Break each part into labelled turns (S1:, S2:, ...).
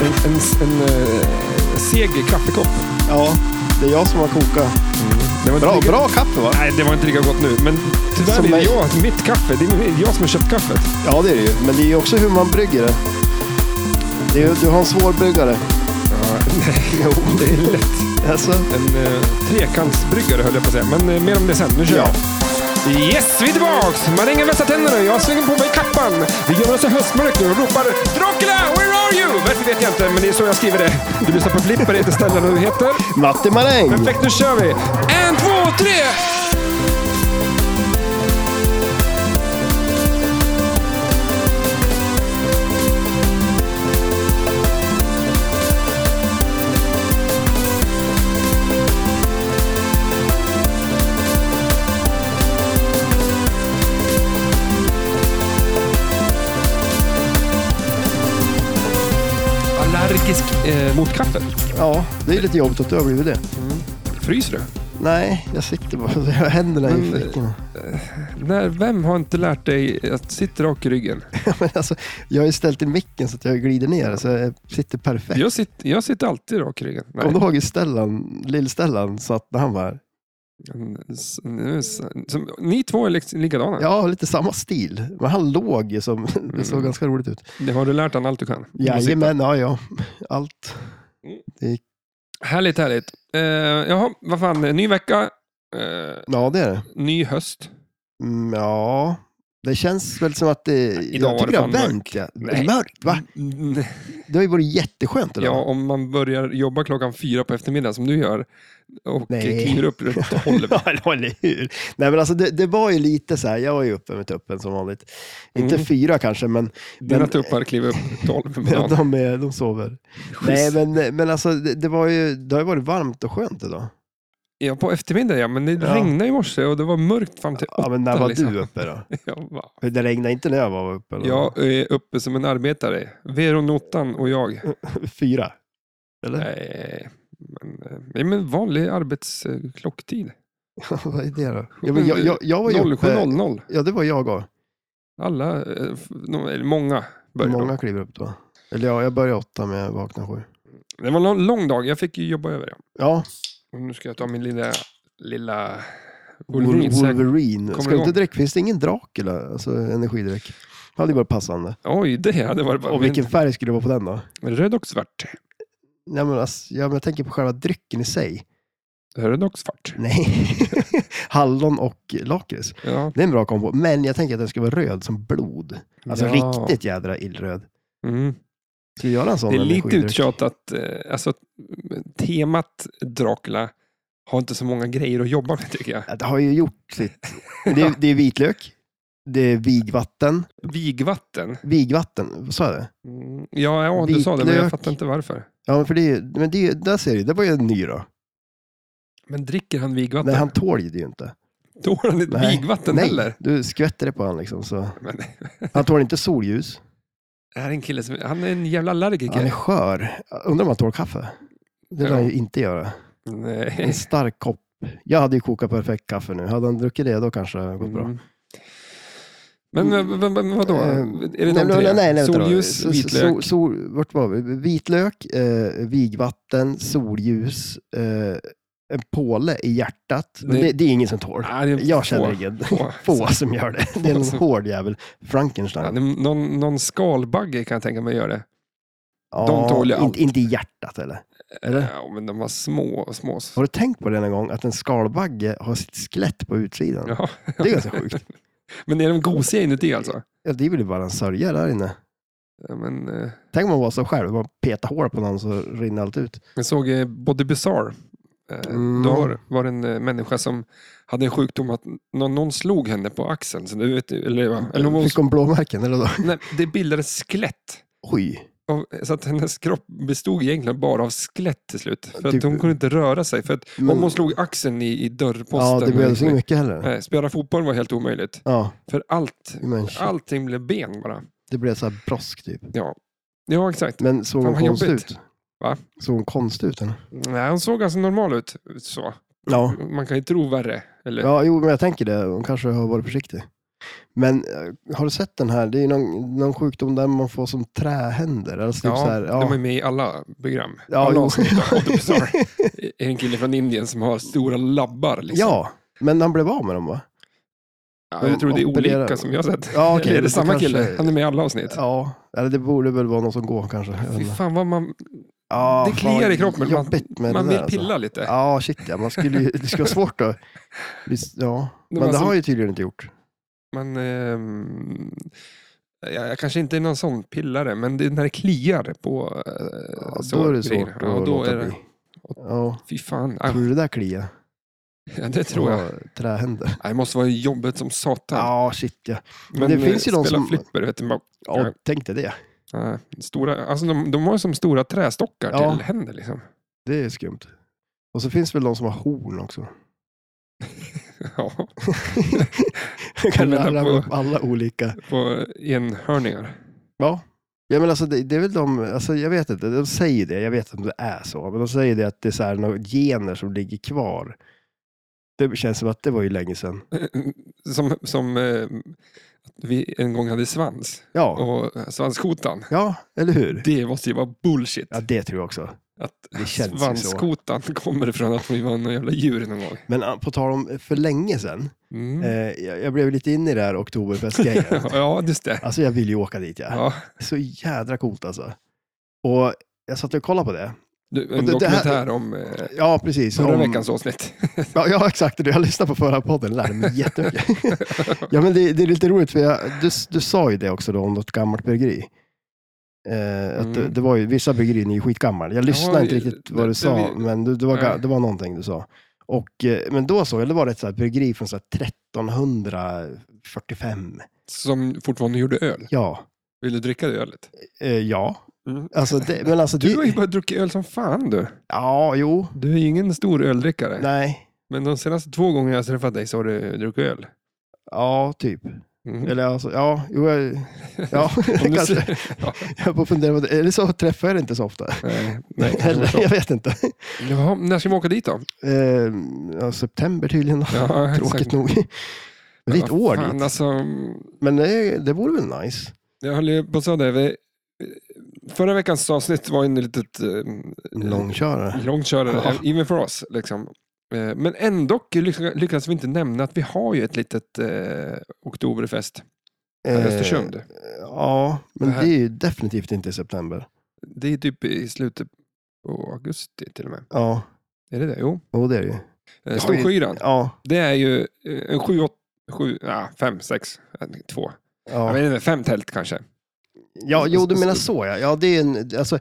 S1: En, en, en, eh, seg kaffekopp.
S2: Ja, det är jag som har kokat.
S1: Det var inte
S2: Bra,
S1: lika-
S2: bra kaffe va?
S1: Nej, det var inte lika gott nu. Men tyvärr
S2: Som
S1: är det
S2: mig.
S1: jag, mitt kaffe. Det är jag som har köpt kaffet.
S2: Ja, det är det ju. Men det är ju också hur man brygger det. det är, ju- du har en svårbryggare.
S1: Jo, det är lätt.
S2: Alltså,
S1: En eh, trekantsbryggare höll jag på att säga. Men eh, mer om det sen. Nu kör
S2: Ja.
S1: jag. Yes, vi är tillbaks! Marängen vässar tänderna, jag slänger på mig kappan. Vi gömmer oss i höstmörk nu och ropar Dracula, where are you? Varför vet jag inte, men det är så jag skriver det. Du lyssnar på Flipper, det heter Stellan och du heter...
S2: Matti Maräng!
S1: Perfekt, nu kör vi! En, två, tre! Allergisk eh, mot kaffe.
S2: Ja, det är lite jobbigt att du har blivit det.
S1: Fryser du?
S2: Nej, jag sitter bara jag har händerna i
S1: Men-
S2: fickorna.
S1: När, vem har inte lärt dig att sitta rak i ryggen?
S2: Men alltså, jag har ju ställt in micken så att jag glider ner så jag sitter perfekt.
S1: Jag sitter, jag sitter alltid rak i ryggen. Nej.
S2: Kommer du ihåg hur Stellan, lill-Stellan satt när han var här?
S1: Mm, S- nu s- Som, ni två är liks- likadana.
S2: Ja, lite samma stil. Men han låg ju som, det såg
S1: Mm.
S2: ganska roligt ut.
S1: Det har du lärt han allt du kan.
S2: Jajamän, ja ja. Allt.
S1: Härligt, härligt. Eh, jaha, vad fan. Ny vecka, eh,
S2: Ja, det är det.
S1: ny höst.
S2: Mm, ja, det känns väl som att det...
S1: idag var det
S2: jag tycker det har
S1: fan
S2: vänt. Ja.
S1: Nej.
S2: Mörkt, va?
S1: Mm,
S2: Det har ju varit jätteskönt idag.
S1: Ja, om man börjar jobba klockan fyra på eftermiddagen som du gör och
S2: Nej.
S1: kliver upp runt tolv.
S2: Ja, eller- eller hur? Nej, men alltså det, det var ju lite så här, jag var ju uppe med tuppen som vanligt. Inte
S1: Mm.
S2: fyra kanske, men
S1: Dina
S2: Men-
S1: tuppar kliver upp tolv på
S2: de,
S1: dagen.
S2: de, är- de sover. Nej, men, men alltså det, det, var ju, det har ju varit varmt och skönt idag.
S1: Ja, på eftermiddagen ja, men det
S2: Ja.
S1: regnade i morse och det var mörkt fram till
S2: Ja, men när
S1: åtta,
S2: var
S1: liksom.
S2: du uppe då?
S1: Jag bara,
S2: För Det regnade inte när jag var uppe. Eller?
S1: Jag är uppe som en arbetare. Vero, Notan och jag.
S2: Mm. Fyra? Eller?
S1: Nej, men, eh, nej, men vanlig arbetsklocktid.
S2: Vad är det då? Ja, men jag, jag, jag var ju uppe...
S1: 07.00.
S2: Ja, det var jag och.
S1: Alla, eh, f- no- eller många började.
S2: Många kliver upp då. Eller ja, jag började åtta men jag vaknade sju.
S1: Det var en lång dag, jag fick ju jobba över. Ja.
S2: Ja,
S1: Och nu ska jag ta min lilla, lilla
S2: Wolverine.
S1: Wolverine. så jag-
S2: Wolverine. Ska
S1: igång.
S2: inte direkt, finns det ingen Dracula? Alltså energidräkt. Det hade ju varit passande.
S1: Oj, det hade varit bara...
S2: Och vilken färg skulle det vara på den då?
S1: men- Röd och svart.
S2: Nej, men alltså, ja, men jag tänker på själva drycken i sig.
S1: Röd och svart.
S2: Nej. Hallon och lakrits.
S1: Ja.
S2: Det är en bra kombo. Men jag tänker att den ska vara röd som blod. Alltså
S1: Ja.
S2: riktigt jädra illröd.
S1: Mm.
S2: Ska vi göra en sån
S1: Det är lite
S2: energidryck?
S1: uttjatat. eh, Alltså, temat Dracula har inte så många grejer att jobba med tycker jag.
S2: Ja, Det har ju gjort sitt. Men Det är, det är vitlök. Det är vigvatten.
S1: Vigvatten.
S2: Vigvatten, sa jag det?
S1: Mm, Ja, ja du sa det, men jag
S2: Vitlök.
S1: fattar inte varför.
S2: Ja, men för det, är ju- men det, är ju- där ser du, det var ju en ny då.
S1: Men dricker han vigvatten?
S2: Nej, han tål ju det ju inte.
S1: Tål han inte
S2: Nej.
S1: vigvatten
S2: Nej,
S1: heller?
S2: du skvätter det på han liksom. Så.
S1: Men,
S2: Han tål inte solljus.
S1: det här är en kille som, han är en jävla allergiker.
S2: Han är skör. Undrar om han tål kaffe? Det lär
S1: Ja.
S2: han ju inte göra. En
S1: Nej.
S2: stark kopp. Jag hade ju kokat perfekt kaffe nu. Hade han druckit det då kanske det hade gått bra.
S1: Mm. Men, men, men, men vadå?
S2: Eh,
S1: är det de tre?
S2: vänta då.
S1: Solljus,
S2: S- s-
S1: vitlök.
S2: Sol, sol, vart var vi? Vitlök, eh, vigvatten, solljus, eh, en påle i hjärtat. Men
S1: Det-
S2: det, det är ingen som tål.
S1: Nej, det är
S2: Jag
S1: få. Alltså.
S2: känner ingen.
S1: Få.
S2: Få som gör det. Det är en
S1: som-
S2: hård jävel.
S1: Ja,
S2: Frankenstein.
S1: det är någon, någon skalbagge kan jag tänka mig gör det.
S2: Ja,
S1: de tål ju
S2: inte,
S1: allt.
S2: inte i hjärtat eller? Eller?
S1: Ja, men de var små. små.
S2: Har du tänkt på det någon gång? Att en skalbagge har sitt skelett på utsidan.
S1: Ja.
S2: Det är ganska sjukt.
S1: Men är de gosiga inuti alltså?
S2: Ja, det är väl bara en sörja där inne.
S1: Ja, men, eh,
S2: Tänk om man var så själv. Man petar hår på någon så rinner allt ut.
S1: Jag såg eh, Body Bizarre. Eh,
S2: Mm.
S1: Då var, var det en eh, människa som hade en sjukdom att någon, någon slog henne på axeln. Så du vet, eller, va? eller hon,
S2: Fick hon blåmärken eller då?
S1: nej, det bildades skelett.
S2: Oj.
S1: av- Så att hennes kropp bestod egentligen bara av skelett till slut. För att
S2: Typ-
S1: hon kunde inte röra sig. För att
S2: Men-
S1: om hon slog axeln i, i dörrposten.
S2: Ja, det alltså behövs
S1: liksom-
S2: inte mycket heller.
S1: Nej, spela fotboll var helt omöjligt.
S2: Ja,
S1: För allt,
S2: men shit,
S1: allting blev ben bara.
S2: det blev så här brosk typ.
S1: Ja, ja exakt.
S2: Men såg
S1: Fan,
S2: hon
S1: vad
S2: konstig
S1: jobbigt.
S2: ut?
S1: Va?
S2: Såg hon konstig ut eller?
S1: Nej, hon såg ganska normal ut. Så.
S2: Ja.
S1: Man kan ju tro värre. Eller?
S2: ja, jo men jag tänker det. Hon kanske har varit försiktig. Men eh, har du sett den här? Det är ju någon, någon sjukdom där man får som trähänder. Alltså typ så här,
S1: de är med i alla program.
S2: Ja,
S1: alla
S2: jo.
S1: avsnitt av Odd Bizarre. Det är en kille från Indien som har stora labbar. Liksom.
S2: ja, men han blev av med dem va?
S1: Ja, jag tror det är
S2: opererar-
S1: olika som jag har sett.
S2: Ja, okej,
S1: Eller är det
S2: då
S1: samma
S2: kanske-
S1: kille? Han är med i alla avsnitt.
S2: Ja, eller det borde väl vara någon som går kanske. Jag vet
S1: Fy
S2: inte.
S1: fan vad man,
S2: Ja,
S1: det kliar
S2: fan,
S1: i kroppen. Man,
S2: Jobbigt med
S1: man
S2: det
S1: vill
S2: där,
S1: pilla
S2: Alltså.
S1: lite.
S2: Ja, shit ja. Man skulle ju, det skulle vara svårt att... Visst, Ja,
S1: Men
S2: men det
S1: alltså-
S2: har jag ju tydligen inte gjort.
S1: Men, ehm, jag, jag kanske inte är någon sån pillare, men det, när det kliar på eh,
S2: Ja,
S1: så
S2: då är det
S1: grejer.
S2: svårt att
S1: ja, då
S2: låta
S1: är det,
S2: bli. Ja,
S1: Fy fan,
S2: tror
S1: aj,
S2: du det där kliar?
S1: ja, det tror jag.
S2: Ja, Trähänder.
S1: Aj, Det måste vara jobbet som satan.
S2: Ja, shit ja.
S1: men
S2: det finns ju
S1: eh,
S2: de
S1: spela
S2: som-
S1: flipper, vet du. Bara,
S2: Ja, tänk dig det.
S1: eh, stora, alltså de, de har som stora trästockar
S2: Ja.
S1: till händer. Liksom.
S2: Det är skumt. Och så finns det väl de som har horn också.
S1: Ja,
S2: Jag kan
S1: menar
S2: ramla
S1: på-
S2: upp alla olika.
S1: på enhörningar.
S2: Ja. Ja, men alltså, det, det är väl de, alltså, jag vet inte, de säger det, jag vet inte om det är så, men de säger det att det är så här, några gener som ligger kvar. Det känns som att det var ju länge sedan.
S1: Som, som eh, att vi en gång hade svans
S2: Ja,
S1: och svanskotan.
S2: ja eller hur?
S1: Det måste ju vara bullshit.
S2: Ja, det tror jag också.
S1: Att
S2: Det känns ju så.
S1: svanskotan kommer från att vi var några jävla djur någon gång.
S2: Men ah, på tal om för länge sedan,
S1: Mm.
S2: eh, jag, jag blev lite inne i det här oktoberfestgrejen.
S1: ja, just det.
S2: Alltså jag vill ju åka dit, ja.
S1: Ja.
S2: Så jädra coolt alltså. Och jag satt och kollade på det.
S1: Du,
S2: Och
S1: en
S2: det- det här-
S1: dokumentär om eh,
S2: Ja, precis.
S1: förra
S2: Om-
S1: veckans avsnitt.
S2: Ja, ja exakt. Du, Jag lyssnade på förra podden och lärde mig jättemycket. ja, men det, det är lite roligt, för jag, du, du sa ju det också då, om något gammalt bryggeri. Eh, att det,
S1: Mm.
S2: det var ju, vissa bryggerin är ju skitgammal. Jag lyssnade
S1: Ja,
S2: inte
S1: det-
S2: riktigt vad
S1: det-
S2: du
S1: det
S2: sa,
S1: vi-
S2: men du, det, var, ga-
S1: Nej.
S2: det var någonting du sa. Och, eh, men då såg jag, det var ett så här bryggeri från så här 1345.
S1: Som fortfarande gjorde öl.
S2: Ja,
S1: Vill du dricka det ölet?
S2: eh, ja.
S1: Mm.
S2: Alltså det, men alltså
S1: Du har ju
S2: det,
S1: börjat dricka öl som fan du.
S2: ja, jo,
S1: Du är ju ingen stor öldrickare.
S2: nej,
S1: Men de senaste två gångerna jag har träffat dig så har du druckit öl.
S2: ja, typ.
S1: Mm.
S2: Eller alltså, ja, jo, jag, ja,
S1: Om du
S2: kanske.
S1: ser- ja,
S2: Jag får fundera på det. Eller så träffar jag det inte så ofta.
S1: nej, nej, kanske
S2: Eller,
S1: tvärtom.
S2: jag vet Eh, inte.
S1: Jaha, när ska vi åka dit då?
S2: Eh, ja, september tydligen.
S1: Ja, exakt.
S2: Tråkigt nog. Men det är ett
S1: Ja,
S2: år
S1: fan,
S2: dit.
S1: alltså,
S2: Men det, det vore väl nice.
S1: Jag höll ju på att säga det. Vi, eh, förra veckans avsnitt var ju en litet
S2: En
S1: eh,
S2: Långkörare.
S1: långkörare,
S2: Ja.
S1: even for us. Liksom. Eh, Men ändå lyck- lyckas vi inte nämna att vi har ju ett litet eh, oktoberfest här i Östersund.
S2: Eh, Ja, men
S1: Det här-
S2: det är ju definitivt inte i september.
S1: Det är typ i slutet på augusti till och med.
S2: Ja,
S1: Är det det? Jo.
S2: och det är det ju.
S1: Eh,
S2: Ja,
S1: Storskyran.
S2: Ja,
S1: Det är ju eh, en sju, åt, sju, ah, fem, sex, eh, två. Jag
S2: ja.
S1: vet inte, fem tält kanske.
S2: ja jo, du menar så ja. Ja, det är en... Alltså,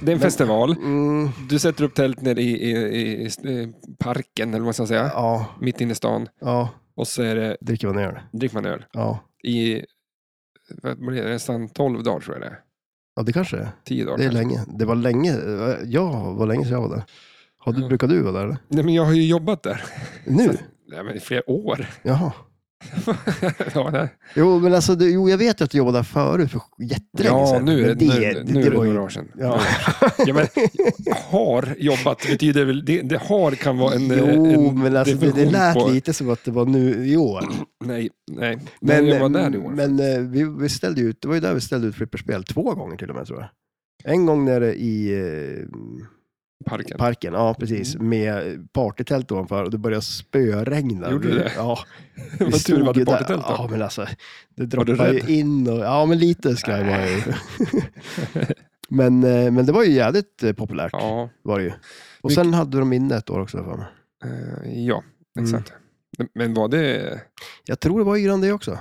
S1: Det är en
S2: Men-
S1: festival.
S2: mm,
S1: Du sätter upp tält nere i, i, i, i parken, eller vad man ska säga.
S2: ja,
S1: Mitt inne i stan.
S2: ja.
S1: Och så är det,
S2: Dricker man öl.
S1: dricker man öl
S2: Ja.
S1: i vad blir det, nästan 12 dagar, tror jag det är.
S2: ja, det kanske det är.
S1: 10 dagar.
S2: Det är
S1: kanske.
S2: länge. Det var länge. eh, Ja, var länge sedan jag var där. Har du,
S1: Ja.
S2: Brukar du vara där eller?
S1: Nej, men jag har ju jobbat där.
S2: Nu?
S1: Så- Nej, men i flera år.
S2: Jaha.
S1: ja, nej.
S2: Jo, men alltså, du, jo, jag vet ju att du jobbade där förut för jättelänge
S1: ja
S2: sedan.
S1: nu är
S2: men
S1: det, nu, nu är det
S2: var ju-
S1: några år sedan.
S2: Ja.
S1: Ja, men, har jobbat betyder väl, det, det har kan vara en... eh,
S2: jo,
S1: en
S2: men alltså, det, det
S1: definition
S2: lät
S1: på-
S2: lite som att det var nu i år.
S1: Nej, nej. Men,
S2: Men,
S1: jag var där i år.
S2: men eh, vi, vi ställde ut, det var ju där vi ställde ut flipperspel två gånger till och med tror jag. En gång nere i eh,
S1: parken. Mm.
S2: parken, ja precis, med partytält ovanför och det började spöregna.
S1: Gjorde det?
S2: Ja,
S1: Vad
S2: vi
S1: tur
S2: stod
S1: var
S2: ju
S1: det
S2: där.
S1: partytält
S2: Ja,
S1: då.
S2: men alltså, det
S1: Var du
S2: droppade
S1: rädd?
S2: ju in och, ja men lite skraj var jag ju. men, eh, men det var ju jävligt eh, populärt.
S1: Ja,
S2: var det ju. Och
S1: Mycket-
S2: sen hade de inne ett år också för mig.
S1: eh, ja
S2: Mm.
S1: exakt. Men- Men var det...
S2: Jag tror det var yran det också.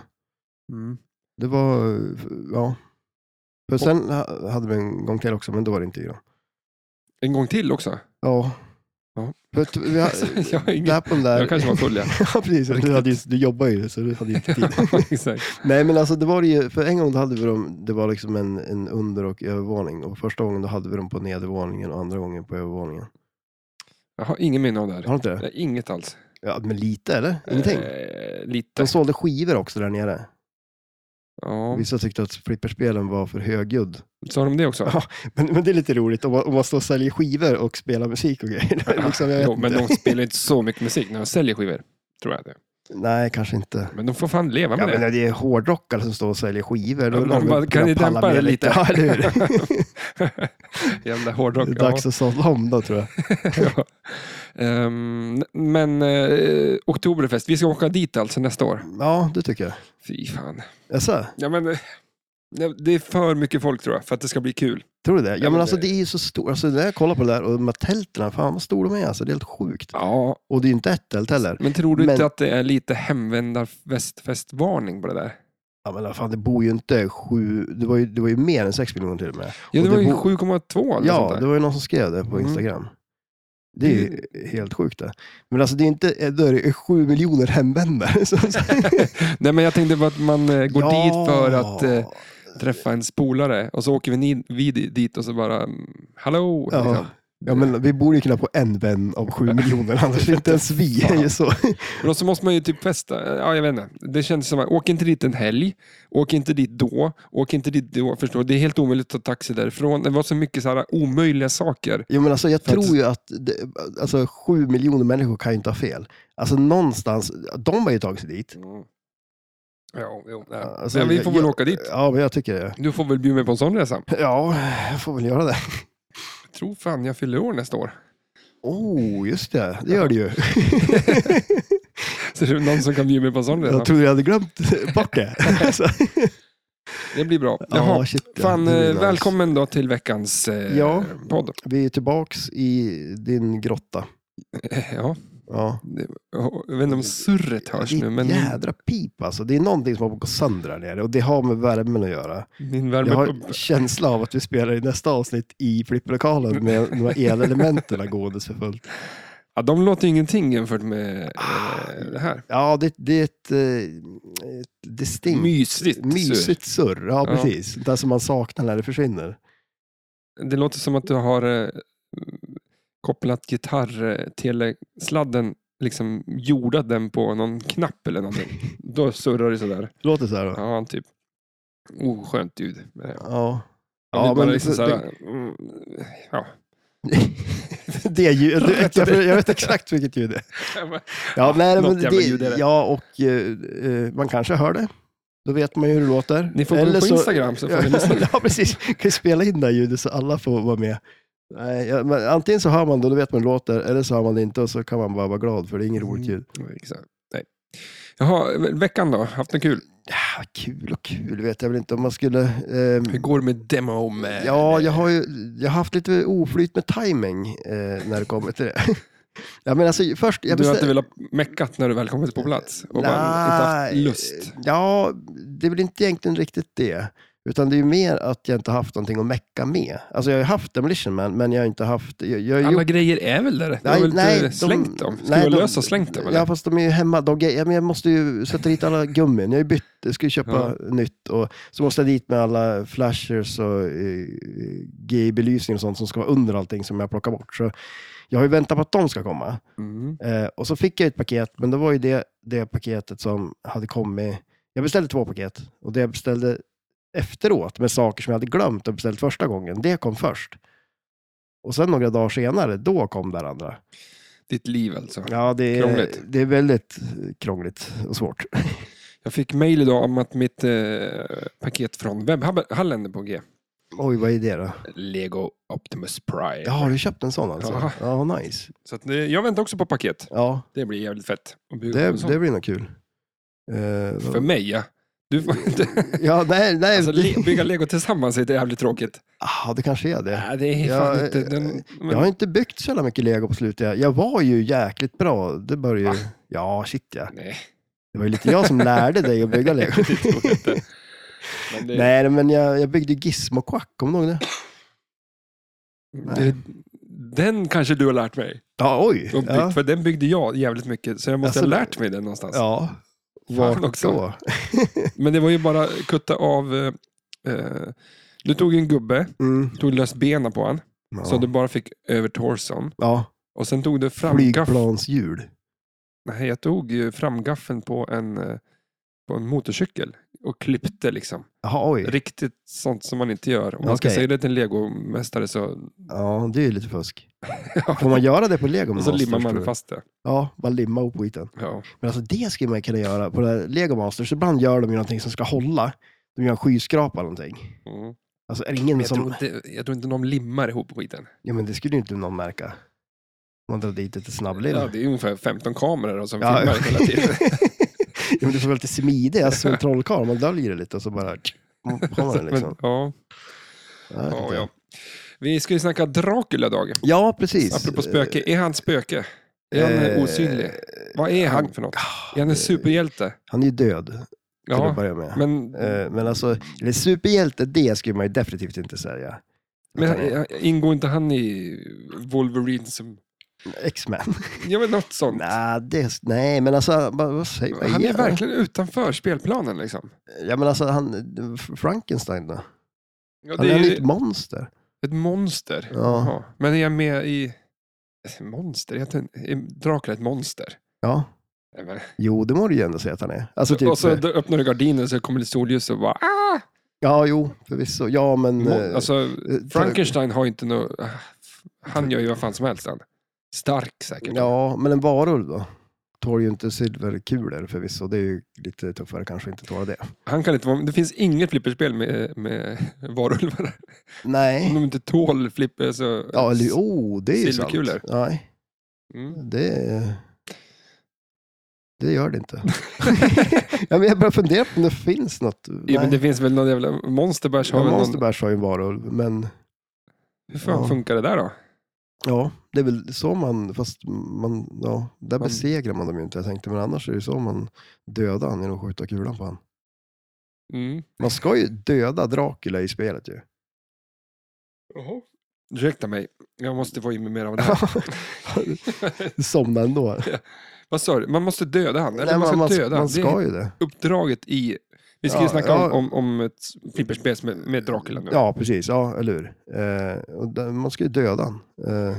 S1: Mm.
S2: Det var, eh, ja. För sen ha- hade vi en gång till också, men då var det inte yran.
S1: En gång till också?
S2: Ja.
S1: Ja.
S2: För att vi
S1: Alltså,
S2: har,
S1: jag, har ingen,
S2: där på den där...
S1: jag kanske var full, ja.
S2: ja, precis. Du, hade, ju- du jobbar ju, så du hade ju inte tid.
S1: Exakt.
S2: Nej, men alltså det var ju, för en gång då hade vi dem, det var liksom en, en under och övervåning. Och första gången då hade vi dem på nedervåningen och andra gången på övervåningen.
S1: Jag har ingen minne av det här.
S2: Har du inte det?
S1: Nej, Inget alls.
S2: Ja, men lite eller? Ingenting?
S1: Eh, lite.
S2: De sålde skivor också där nere.
S1: Ja.
S2: Vissa tyckte att flipperspelen var för högljudd.
S1: Sa de det också?
S2: Ja, men, men det är lite roligt om man, om man står och säljer skivor och spelar musik och grejer. liksom, jag vet
S1: jo, men
S2: inte.
S1: de spelar inte så mycket musik när de säljer skivor. Tror jag det.
S2: Nej, kanske inte.
S1: Men de får fan leva
S2: Ja,
S1: med
S2: men
S1: det.
S2: det är hårdrockare som står och säljer skivor.
S1: Ja, de bara, kan ni
S2: pallar
S1: dämpa
S2: med
S1: det lite?
S2: Ja, eller hur?
S1: Jävla
S2: Det
S1: hårdrock.
S2: är dags att sålla om då, tror jag.
S1: ja. Ja. Ehm, men eh, Oktoberfest, vi ska åka dit alltså nästa år.
S2: Ja, det tycker jag.
S1: Fy fan.
S2: Jaså?
S1: Ja, men, eh, nej, det är för mycket folk tror jag, för att det ska bli kul.
S2: Tror du det? Ja,
S1: men
S2: men alltså
S1: det-
S2: det är ju så stort. Alltså, när jag kollar på det där och de här tälterna, fan vad stora de är. Alltså, det är helt sjukt.
S1: Ja,
S2: Och det är ju inte ett tält heller.
S1: men tror du
S2: Men-
S1: inte att det är lite hemvändarfestvarning på det där?
S2: Ja, men vad fan, det bor ju inte sju... Det var ju, det var ju mer än sex miljoner till och med.
S1: Ja, det
S2: Och det
S1: var ju
S2: bo-
S1: 7,2 eller sånt
S2: Ja,
S1: där.
S2: det var ju någon som skrev det på
S1: Mm.
S2: Instagram. Det är ju helt sjukt det. Men alltså det är inte, då är det sju miljoner hemvändare. Så, så,
S1: Nej, men jag tänkte bara att man eh, går
S2: Ja.
S1: dit för att eh, träffa en spolare och så åker vi, ni, vi di- dit och så bara, mm, hallå!
S2: Ja.
S1: Liksom.
S2: Ja, men vi borde ju kunna på en vän av sju miljoner, annars inte ens vi är ju så.
S1: Men så måste man ju typ festa. Ja, jag vet inte. Det känns som att, åk inte dit en helg, åk inte dit då, åk inte dit då. Förstår du? Det är helt omöjligt att ta taxi därifrån. Det var så mycket så här omöjliga saker.
S2: Jo, men alltså jag
S1: För att-
S2: tror ju att det, alltså, sju miljoner människor kan ju inte ha fel. Alltså någonstans, de har ju tagit sig dit.
S1: Ja, jo, nej.
S2: Mm. Alltså,
S1: men vi
S2: jag-
S1: får väl
S2: jag-
S1: åka dit.
S2: Ja, men jag tycker det.
S1: Du får väl bjuda mig på en sån resa.
S2: Ja, jag får väl göra det.
S1: Jag tror fan jag fyller år nästa år.
S2: Oh, just det. Det gör det ju.
S1: Så det är någon som kan bjuda mig på en sån resa.
S2: Jag trodde jag hade glömt bort det. Alltså,
S1: Det blir bra.
S2: ja,
S1: Jaha.
S2: shit, ja.
S1: Fan,
S2: Det blir
S1: eh,
S2: nice.
S1: välkommen då till veckans eh,
S2: Ja.
S1: podd.
S2: Vi är tillbaks i din grotta.
S1: Eh, Ja,
S2: Ja.
S1: det, jag vet inte om surret hörs
S2: Det är
S1: nu, men min,
S2: Jädra pip alltså. Det är någonting som håller på att gå sönder där nere och det har med värmen att göra.
S1: min
S2: Jag har
S1: värmepump
S2: en känsla av att vi spelar i nästa avsnitt i flipplokalen med de här elelementen gåendes för fullt.
S1: Ja, de låter ju ingenting jämfört med eh,
S2: Ah.
S1: det här.
S2: Ja, det, det är ett, eh, ett distinkt,
S1: Mysigt.
S2: mysigt surr. Ja,
S1: Ja.
S2: precis. Det som man saknar när det försvinner.
S1: Det låter som att du har eh, kopplat gitarrtelesladden, liksom jordat den på någon knapp eller någonting. Då surrar det sådär.
S2: Låter så här då?
S1: Ja, typ. Oskönt ljud. Men, ja.
S2: Ja.
S1: Ja, det är bara
S2: men
S1: liksom
S2: det-
S1: såhär, mm, ja.
S2: Det är ju, du, jag, jag vet exakt vilket ljud det är. Ja, nej,
S1: något
S2: men
S1: jävla ljud är
S2: det,
S1: det.
S2: ja och eh, eh, man kanske hör det. Då vet man ju hur det låter.
S1: Ni får gå in på
S2: så-
S1: Instagram så får ni lyssna.
S2: ja, precis. Kan ju spela in det här ljudet så alla får vara med. Nej, ja, men antingen så hör man det och då vet man hur det låter, eller så hör man det inte och så kan man bara vara glad för det är inget roligt ljud.
S1: Mm, exakt. Nej. Jaha, ve- veckan då? Haft något
S2: Mm.
S1: kul?
S2: Ja, kul och kul vet jag väl inte om man skulle... ehm,
S1: Hur går det med demo? eh, Med...
S2: ja, jag har ju jag har haft lite oflyt med timing eh, när det kommer till det. ja, men alltså, först, jag
S1: du har
S2: bestäm-
S1: inte velat meckat när du väl kommit på plats och bara inte haft
S2: Nej,
S1: lust.
S2: Ja, det är väl inte egentligen riktigt det. Utan det är ju mer att jag inte haft någonting att mecka med. Alltså jag har ju haft Demolition Man, men jag har inte haft... Jag, jag har
S1: Alla
S2: gjort-
S1: grejer är väl där? Du har väl inte slängt dem? Ska du
S2: de-
S1: lösa och slängt dem? Eller?
S2: Ja, fast de är ju hemma. De, ja, men jag måste ju sätta dit alla gummin. Jag har ju bytt, jag ska ju köpa nytt. Och så måste jag dit med alla flashers och eh, GI-belysning och sånt som ska vara under allting som jag plockar bort. Så jag har ju väntat på att de ska komma.
S1: Mm.
S2: Eh, och så fick jag ett paket, men det var ju det, det paketet som hade kommit. Jag beställde två paket och det jag beställde efteråt med saker som jag hade glömt och beställt första gången, det kom först. Och sen några dagar senare, då kom det här andra.
S1: Ditt liv alltså.
S2: Ja, det är,
S1: Krångligt.
S2: det är väldigt krångligt och svårt.
S1: Jag fick mejl idag om att mitt eh, paket från webbhallen är på G.
S2: Oj, vad är det då?
S1: Lego Optimus Prime.
S2: Ja, har du köpt en sån alltså?
S1: Ja.
S2: Ja, ja nice.
S1: Så att, eh, jag väntar också på paket.
S2: Ja,
S1: Det blir jävligt fett. att bjuda på en
S2: det,
S1: sån.
S2: det blir nog kul. Eh,
S1: För mig ja. Du får inte...
S2: ja, nej, nej.
S1: Alltså, le- bygga lego tillsammans är det jävligt tråkigt.
S2: ah, det kanske är det.
S1: Nej, det är
S2: Ja,
S1: fan
S2: eh,
S1: inte... Den, men,
S2: Jag har inte byggt så jävla mycket lego på slutet. Jag- Jag var ju jäkligt bra. Det började
S1: Va?
S2: ju... Ja, shit ja.
S1: Nej,
S2: Det var ju lite jag som lärde dig att bygga lego.
S1: det tror jag inte. Men det,
S2: Nej, men jag, jag byggde Gizmo Quack, kommer du ihåg det?
S1: det, den kanske du har lärt mig.
S2: Ja, oj.
S1: Och byggt,
S2: Ja,
S1: För den byggde jag jävligt mycket, så jag måste
S2: Alltså,
S1: ha lärt mig den någonstans.
S2: ja.
S1: Fan
S2: vart
S1: också.
S2: då?
S1: Men det var ju bara kutta av... Eh, eh, du tog en gubbe,
S2: Mm.
S1: tog lös benen på han,
S2: Ja.
S1: så du bara fick över torson.
S2: ja.
S1: Och sen tog du framgaffeln.
S2: Flygplanshjul.
S1: Nej, jag tog ju framgaffeln på en... eh, på en motorcykel och klippte liksom.
S2: Jaha, oj.
S1: Riktigt sånt som man inte gör. Om man ska
S2: Okej.
S1: säga det till en legomästare så,
S2: Ja, det är ju lite fusk. Får
S1: ja,
S2: man göra det på lego
S1: så
S2: Masters,
S1: limmar
S2: tror
S1: man
S2: du?
S1: fast det.
S2: Ja, bara limma ihop skiten.
S1: Ja.
S2: Men alltså det skulle man kunna göra på det här lego masters. Ibland gör de ju någonting som ska hålla. De gör en skyskrapa eller någonting.
S1: Mm.
S2: Alltså är det ingen
S1: Men jag,
S2: som...
S1: tror inte, jag tror inte någon limmar ihop skiten.
S2: Ja, men det skulle ju inte någon märka. Om man drar dit lite snabblim.
S1: Ja, det är ungefär 15 kameror som
S2: Ja.
S1: filmar hela tiden.
S2: ja, men du får vara lite smidig, alltså, som en trollkarl. Man döljer det lite och så bara... Har man det liksom.
S1: Men, ja,
S2: Ja, jag vet
S1: ja,
S2: inte.
S1: ja. Vi ska ju snacka Dracula, Dag.
S2: ja, precis.
S1: Apropå spöke. Är han spöke? Är han
S2: Eh,
S1: osynlig? Vad är han för något? Är han en superhjälte?
S2: Han är ju död, till att
S1: Ja,
S2: börja med. Men,
S1: men,
S2: men alltså, eller superhjälte, det skulle man ju definitivt inte säga.
S1: men
S2: Utan, eh,
S1: han- ingår inte han i Wolverine som...
S2: X-Men.
S1: Ja, men något sånt.
S2: Nej, det, nej, men alltså, vad, vad säger vad
S1: Han är
S2: han?
S1: verkligen utanför spelplanen liksom.
S2: Ja, men alltså, han, Frankenstein då?
S1: Ja,
S2: Han
S1: det
S2: är
S1: är
S2: ju
S1: ju
S2: ett monster.
S1: ett monster.
S2: Ja,
S1: Jaha. Men är jag med i... Monster? Jag tänkte- Är Dracula ett monster?
S2: ja.
S1: Nej, men-
S2: Jo, det må du ju ändå säga att han är. Alltså, typ,
S1: och så då öppnar du gardinen så kommer det solljus och bara... Ah!
S2: Ja, jo, förvisso. Ja, men...
S1: Mon-
S2: eh,
S1: Alltså,
S2: eh,
S1: Frankenstein har ju inte nå... ah, Han gör ju vad fan som helst han. Stark säkert.
S2: Ja, men en varulv då? Tål ju inte silverkulor förvisso. Det är ju lite tuffare kanske att inte tåla det.
S1: Han kan inte vara... Det finns inget flipperspel med, med varulvar. Om
S2: Nej.
S1: de inte tål flipper så...
S2: Ja, eller oh, det är ju sant.
S1: Silverkulor.
S2: Nej,
S1: Mm.
S2: det... Det gör det inte. ja, men jag börjar fundera på om det finns något.
S1: Ja, men det
S2: Nej.
S1: finns väl någon jävla... Monsterbärs har
S2: ja,
S1: väl någon...
S2: Monster Bash har ju en varulv, men
S1: Hur fan
S2: Ja.
S1: funkar det där då?
S2: ja, det är väl så man, fast man, ja, där
S1: Man-
S2: besegrar man dem ju inte. Jag tänkte, men annars är det ju så man dödar han genom att skjuta kulan på han.
S1: Mm.
S2: Man ska ju döda Dracula i spelet ju.
S1: Ursäkta mig, jag måste få i mig mer av det här.
S2: Somna ändå.
S1: Vad sa du? Man måste döda han? Eller
S2: Nej,
S1: man ska
S2: man,
S1: döda
S2: man
S1: han? Det är
S2: ska ju det.
S1: uppdraget i... Vi ska ju
S2: Ja,
S1: snacka
S2: ja.
S1: om, om, om ett flipperspel med, med Dracula nu.
S2: Ja, precis. Ja, eller hur? Eh, och där, man ska ju döda han. Eh,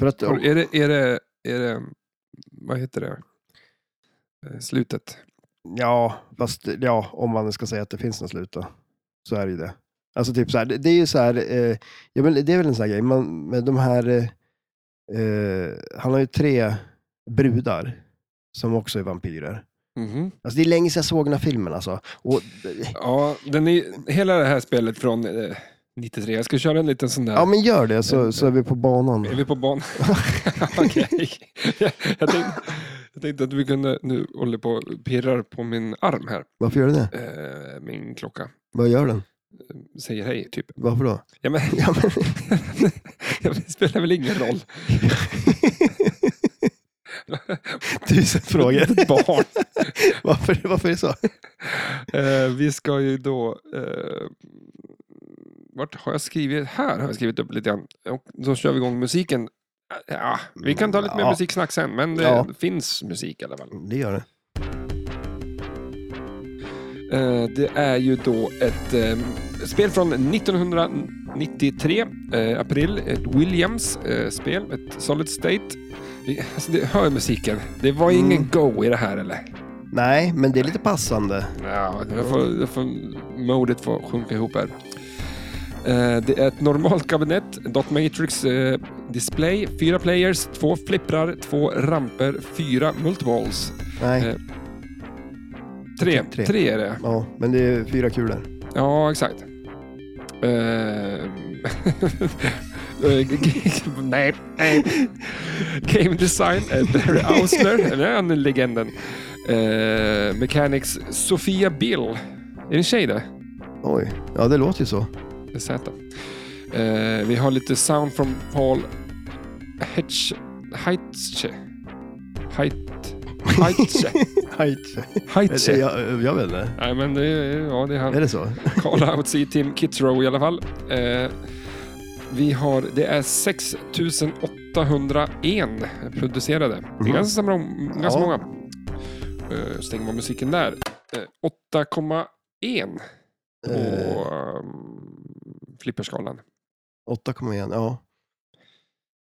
S2: för att...
S1: Och Är, det, är, det, är det... Vad heter det? Eh, Slutet.
S2: Ja, fast ja, om man ska säga att det finns något slut då. Så är det ju det. Alltså typ så här, det, det är ju så här, eh, ja, men det är väl en sån här grej, man, med de här, eh, eh, han har ju tre brudar som också är vampyrer.
S1: Mhm.
S2: Alltså det är länge sedan jag såg den här filmen alltså. Och,
S1: Ja, den är, hela det här spelet från eh, 93. Jag ska köra en liten sån där...
S2: ja men gör det så, så är vi på banan.
S1: Är vi på banan? Okej. jag, tänkte, jag tänkte att vi kunde... Nu håller på och pirrar på min arm här.
S2: Varför gör du det?
S1: Eh, min klocka.
S2: Vad gör den?
S1: Säger hej, typ.
S2: Varför då?
S1: Ja, men,
S2: Ja, men,
S1: det spelar väl ingen roll.
S2: tusen frågor.
S1: Ett barn.
S2: Varför, varför är det så?
S1: Eh, vi ska ju då... Eh, vart har jag skrivit? Här har jag skrivit upp lite grann. Och då kör vi igång musiken. Eh, Ja, vi kan ta lite mer
S2: Mm, Ja.
S1: musiksnack sen, men det
S2: Ja.
S1: finns musik i alla fall.
S2: Det gör det.
S1: Eh, det är ju då ett eh, spel från 1993, eh, april. Ett Williams-spel, ett Solid State. Vi- Alltså, det, hör musiken. Det var ingen
S2: Mm.
S1: go i det här, eller?
S2: Nej, men det är lite passande.
S1: Ja, jag får, jag får modet får sjunka ihop här. Eh, Det är ett normalt kabinett, dot matrix eh, display, fyra players, två flipprar, två ramper, fyra multiballs.
S2: Nej.
S1: Eh, Tre,
S2: Tre.
S1: tre. är det.
S2: Ja, men det är fyra kulor.
S1: Ja, exakt. Eh, eh, nej, nej. Game design, eh, Barry Ausler, den är han legenden. Eh, mechanics, Sofia Bill. Är det en tjej det?
S2: Oj, ja det låter ju så.
S1: med Z. Eh, vi har lite sound från Paul Hetsch... Heitche. Heit... Heitche.
S2: Hajtje.
S1: Heitche.
S2: Jag, jag vet inte.
S1: Nej, men det är, ja, det är han.
S2: Är det så?
S1: Call-outs i Tim Kitzrow i alla fall. Eh, vi har, det är 6801 producerade. Det är
S2: Mhm.
S1: ganska, samma- ganska
S2: Ja.
S1: många. Eh, stänger man musiken där. Eh, 8,1 på
S2: Eh,
S1: ehm, flipperskalan.
S2: 8,1, ja.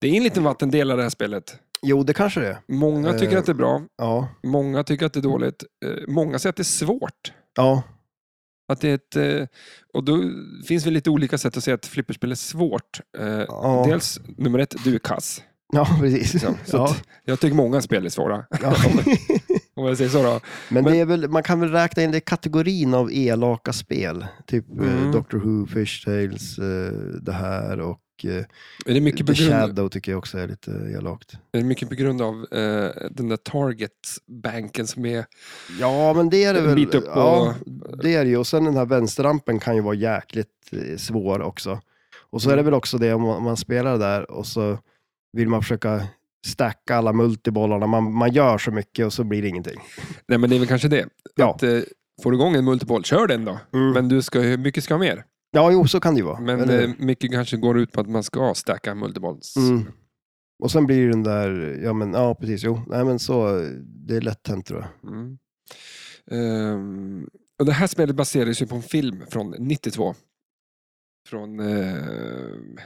S1: Det är en liten vattendelare i det här spelet.
S2: Jo, det kanske det är.
S1: Många tycker
S2: Eh.
S1: att det är bra,
S2: Ja.
S1: många tycker att det är dåligt. Eh, Många säger att det är svårt.
S2: Ja.
S1: Att det är ett, eh, och då finns väl lite olika sätt att säga att flipperspel är svårt. Eh,
S2: Ja,
S1: Dels, nummer ett, du är kass.
S2: ja precis.
S1: Liksom. Så
S2: Ja.
S1: att Jag tycker många spel är svåra.
S2: Ja.
S1: Om jag säger så då.
S2: Men,
S1: Men-
S2: det är väl, man kan väl räkna in det i kategorin av elaka spel. Typ eh,
S1: Mm.
S2: Doctor Who, Fish Tales, eh, det här och eh,
S1: Är det mycket på
S2: The
S1: grund,
S2: Shadow tycker jag också är lite elakt.
S1: är det mycket på grund av eh, den där Target-banken som är...
S2: Ja, men det är det
S1: En
S2: väl.
S1: bit upp
S2: ja, det är det ju. Och sen den här vänsterrampen kan ju vara jäkligt eh, svår också. Och så är det
S1: Mm.
S2: väl också det om man, om man spelar där och så vill man försöka stacka alla multibollarna. Man, man gör så mycket och så blir det ingenting.
S1: Nej, men det är väl kanske det.
S2: Ja. Mm.
S1: Att, eh, får du igång en multiboll, kör den då. Mm. Men du ska, ju- mycket ska ha mer.
S2: Ja, jo, så kan det ju vara.
S1: Men
S2: Eller-
S1: eh, mycket kanske går ut på att man ska stacka multibolls.
S2: Mm. Och sen blir det den där, ja men ja precis, jo, nej men så, det är lätt hänt tror jag.
S1: Mm. Ehm, och det här spelet baserades ju på en film från 92. Från... ehm,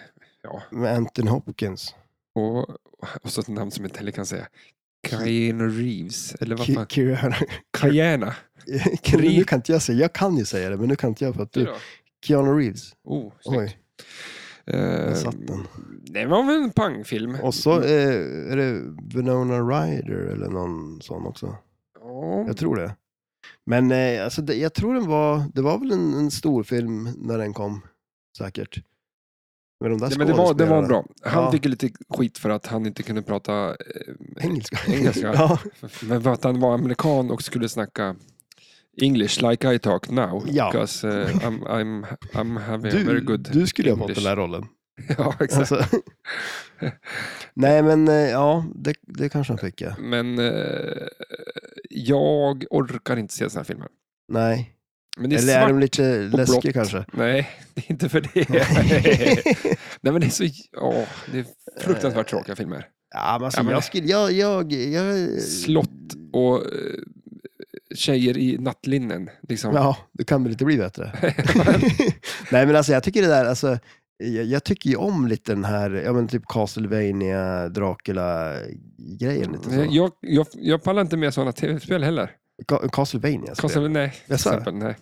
S1: ja,
S2: Med Anthony Hopkins,
S1: och, och så ett namn som jag inte heller kan säga. Cayenne Reeves, eller vad
S2: Ki-
S1: fan?
S2: Keanu-
S1: Cayenne.
S2: Keanu- nu kan inte jag säga, jag kan ju säga det, men nu kan inte jag för att du, Keanu Reeves,
S1: typ. Oh, snyggt.
S2: oj,
S1: Ehm,
S2: där satt den.
S1: det var väl en pangfilm.
S2: Och så eh, är det Winona Ryder eller någon sån också,
S1: Ja.
S2: jag tror det. Men eh, alltså, det, jag tror den var, det var väl en, en stor film när den kom, säkert. Med de där
S1: Nej, men det var, det var
S2: skådespelarna.
S1: bra. Han
S2: Ja.
S1: fick ju lite skit för att han inte kunde prata eh,
S2: Engelska.
S1: Engelska.
S2: ja.
S1: Men för att han var amerikan och skulle snacka English like I talk now.
S2: Ja.
S1: Because eh, I'm, I'm, I'm having a very
S2: Du,
S1: good...
S2: du skulle ju ha fått
S1: English.
S2: den här rollen.
S1: ja, exakt.
S2: Alltså. Nej, men eh, ja, det, det kanske han fick. Ja.
S1: Men eh, jag orkar inte se såna här filmer.
S2: Nej.
S1: Men det är
S2: Eller är
S1: svart.
S2: de lite läskiga
S1: blått.
S2: kanske?
S1: Nej, det är inte för det. Nej, men det är så... ja, det är fruktansvärt tråkiga filmer.
S2: ja, men alltså,
S1: Ja, men-
S2: Jag skulle... Jag, jag, jag...
S1: Slott och eh, tjejer i nattlinnen. Liksom.
S2: Ja, det kan väl inte bli bättre. Nej, men alltså jag tycker det där, alltså, jag, jag tycker ju om lite den här, ja men typ Castlevania, Dracula-grejen lite så.
S1: Eh, jag, jag, jag pallar inte med sådana tv-spel heller.
S2: Ca- Castlevania. spel.
S1: Castlevania, nej. till
S2: Jaså?
S1: exempel, nej.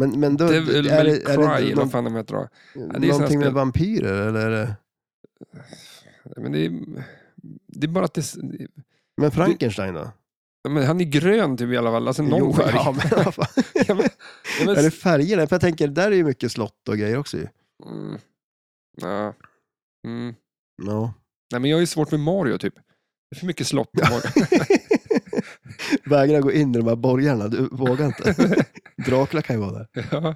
S2: Men, men då,
S1: Devil
S2: är det,
S1: May
S2: är det,
S1: Cry, eller
S2: någon,
S1: vad fan de heter då. det är ju såna
S2: någonting med
S1: spel.
S2: vampyrer eller? är det-
S1: Men det är, det är bara att det,
S2: Men Frankenstein då?
S1: men han är grön typ i alla fall, alltså någon
S2: Jo,
S1: färg.
S2: Ja, men vad fan.
S1: Ja, men- ja, men-
S2: Är det färgerna? För jag tänker, där är ju mycket slott och grejer också ju.
S1: Mm. Ja. Mm.
S2: Ja.
S1: Nej, men jag är ju svårt med Mario typ. Det är för mycket slott med Mario.
S2: Vägrar gå in i de här borgarna, du vågar inte. Dracula kan ju vara där.
S1: ja.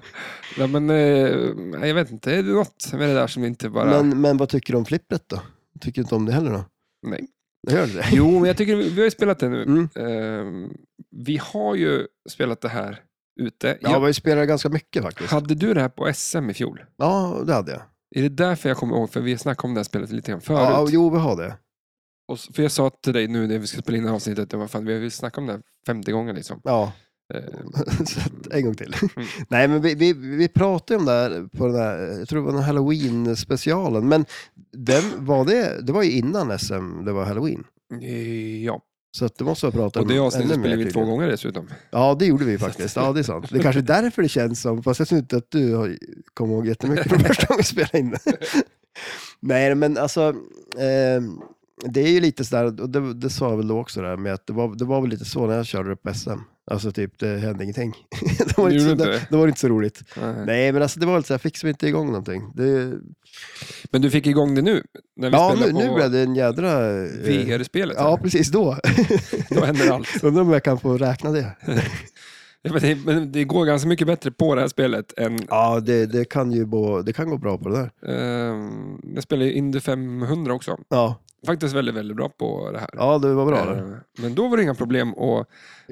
S1: Nej, men eh, nej, jag vet inte, det är något med det där som inte bara...
S2: Men, men vad tycker du om flippret då? Tycker du inte om det heller då?
S1: Nej.
S2: Hör du det?
S1: Jo, men jag tycker vi har ju spelat det nu.
S2: Mm.
S1: Ehm, vi har ju spelat det här ute.
S2: Ja,
S1: jag,
S2: vi spelade ganska mycket faktiskt.
S1: hade du det här på SM i fjol?
S2: Ja, det hade jag.
S1: Är det därför jag kommer ihåg? För vi snackade om det här spelet lite grann förut.
S2: Ja, jo, vi har det.
S1: Och, s- för jag sa till dig nu när vi ska spela in det här avsnittet, vad fan, vi har ju snackat om det här 50 gånger liksom.
S2: Ja,
S1: Eh,
S2: så att, en gång till.
S1: Mm.
S2: Nej, men vi, vi, vi pratade om det här på den här, jag tror det var den här halloween-specialen, men den, var det, det var ju innan SM, det var halloween.
S1: eh, ja,
S2: Så att det måste ha pratat
S1: och det
S2: om
S1: avsnittet
S2: ännu mer
S1: spelade vi två
S2: tydligen.
S1: gånger dessutom.
S2: Ja, det gjorde vi faktiskt. Ja, det är sant. Det är kanske är därför det känns som, fast jag tror inte att du har kommit ihåg jättemycket från första gången vi spelade in. Nej, men alltså, ehm, det är ju lite sådär, och det, det sa jag väl då också, där, med att det var, det var väl lite så när jag körde upp SM. Alltså typ, det hände ingenting. det, var
S1: Det
S2: inte så,
S1: gjorde
S2: det,
S1: inte.
S2: det var inte så roligt.
S1: Nej.
S2: Nej, men alltså det var lite så jag fick som inte igång någonting. Det,
S1: Men du fick igång det nu, när vi
S2: ja, nu,
S1: spelade
S2: nu
S1: på
S2: blev det en jädra... eh,
S1: VR-spelet.
S2: Ja, precis då.
S1: Då händer allt.
S2: Undrar om jag kan få räkna det.
S1: Ja, men det, men det går ganska mycket bättre på det här spelet än...
S2: Ja, det, det kan ju bo, det kan gå bra på det där.
S1: ehm, jag spelade ju Indy 500 också.
S2: Ja,
S1: Faktiskt väldigt, väldigt bra på det här.
S2: ja det var bra. det.
S1: Eh, Men då var det inga problem att...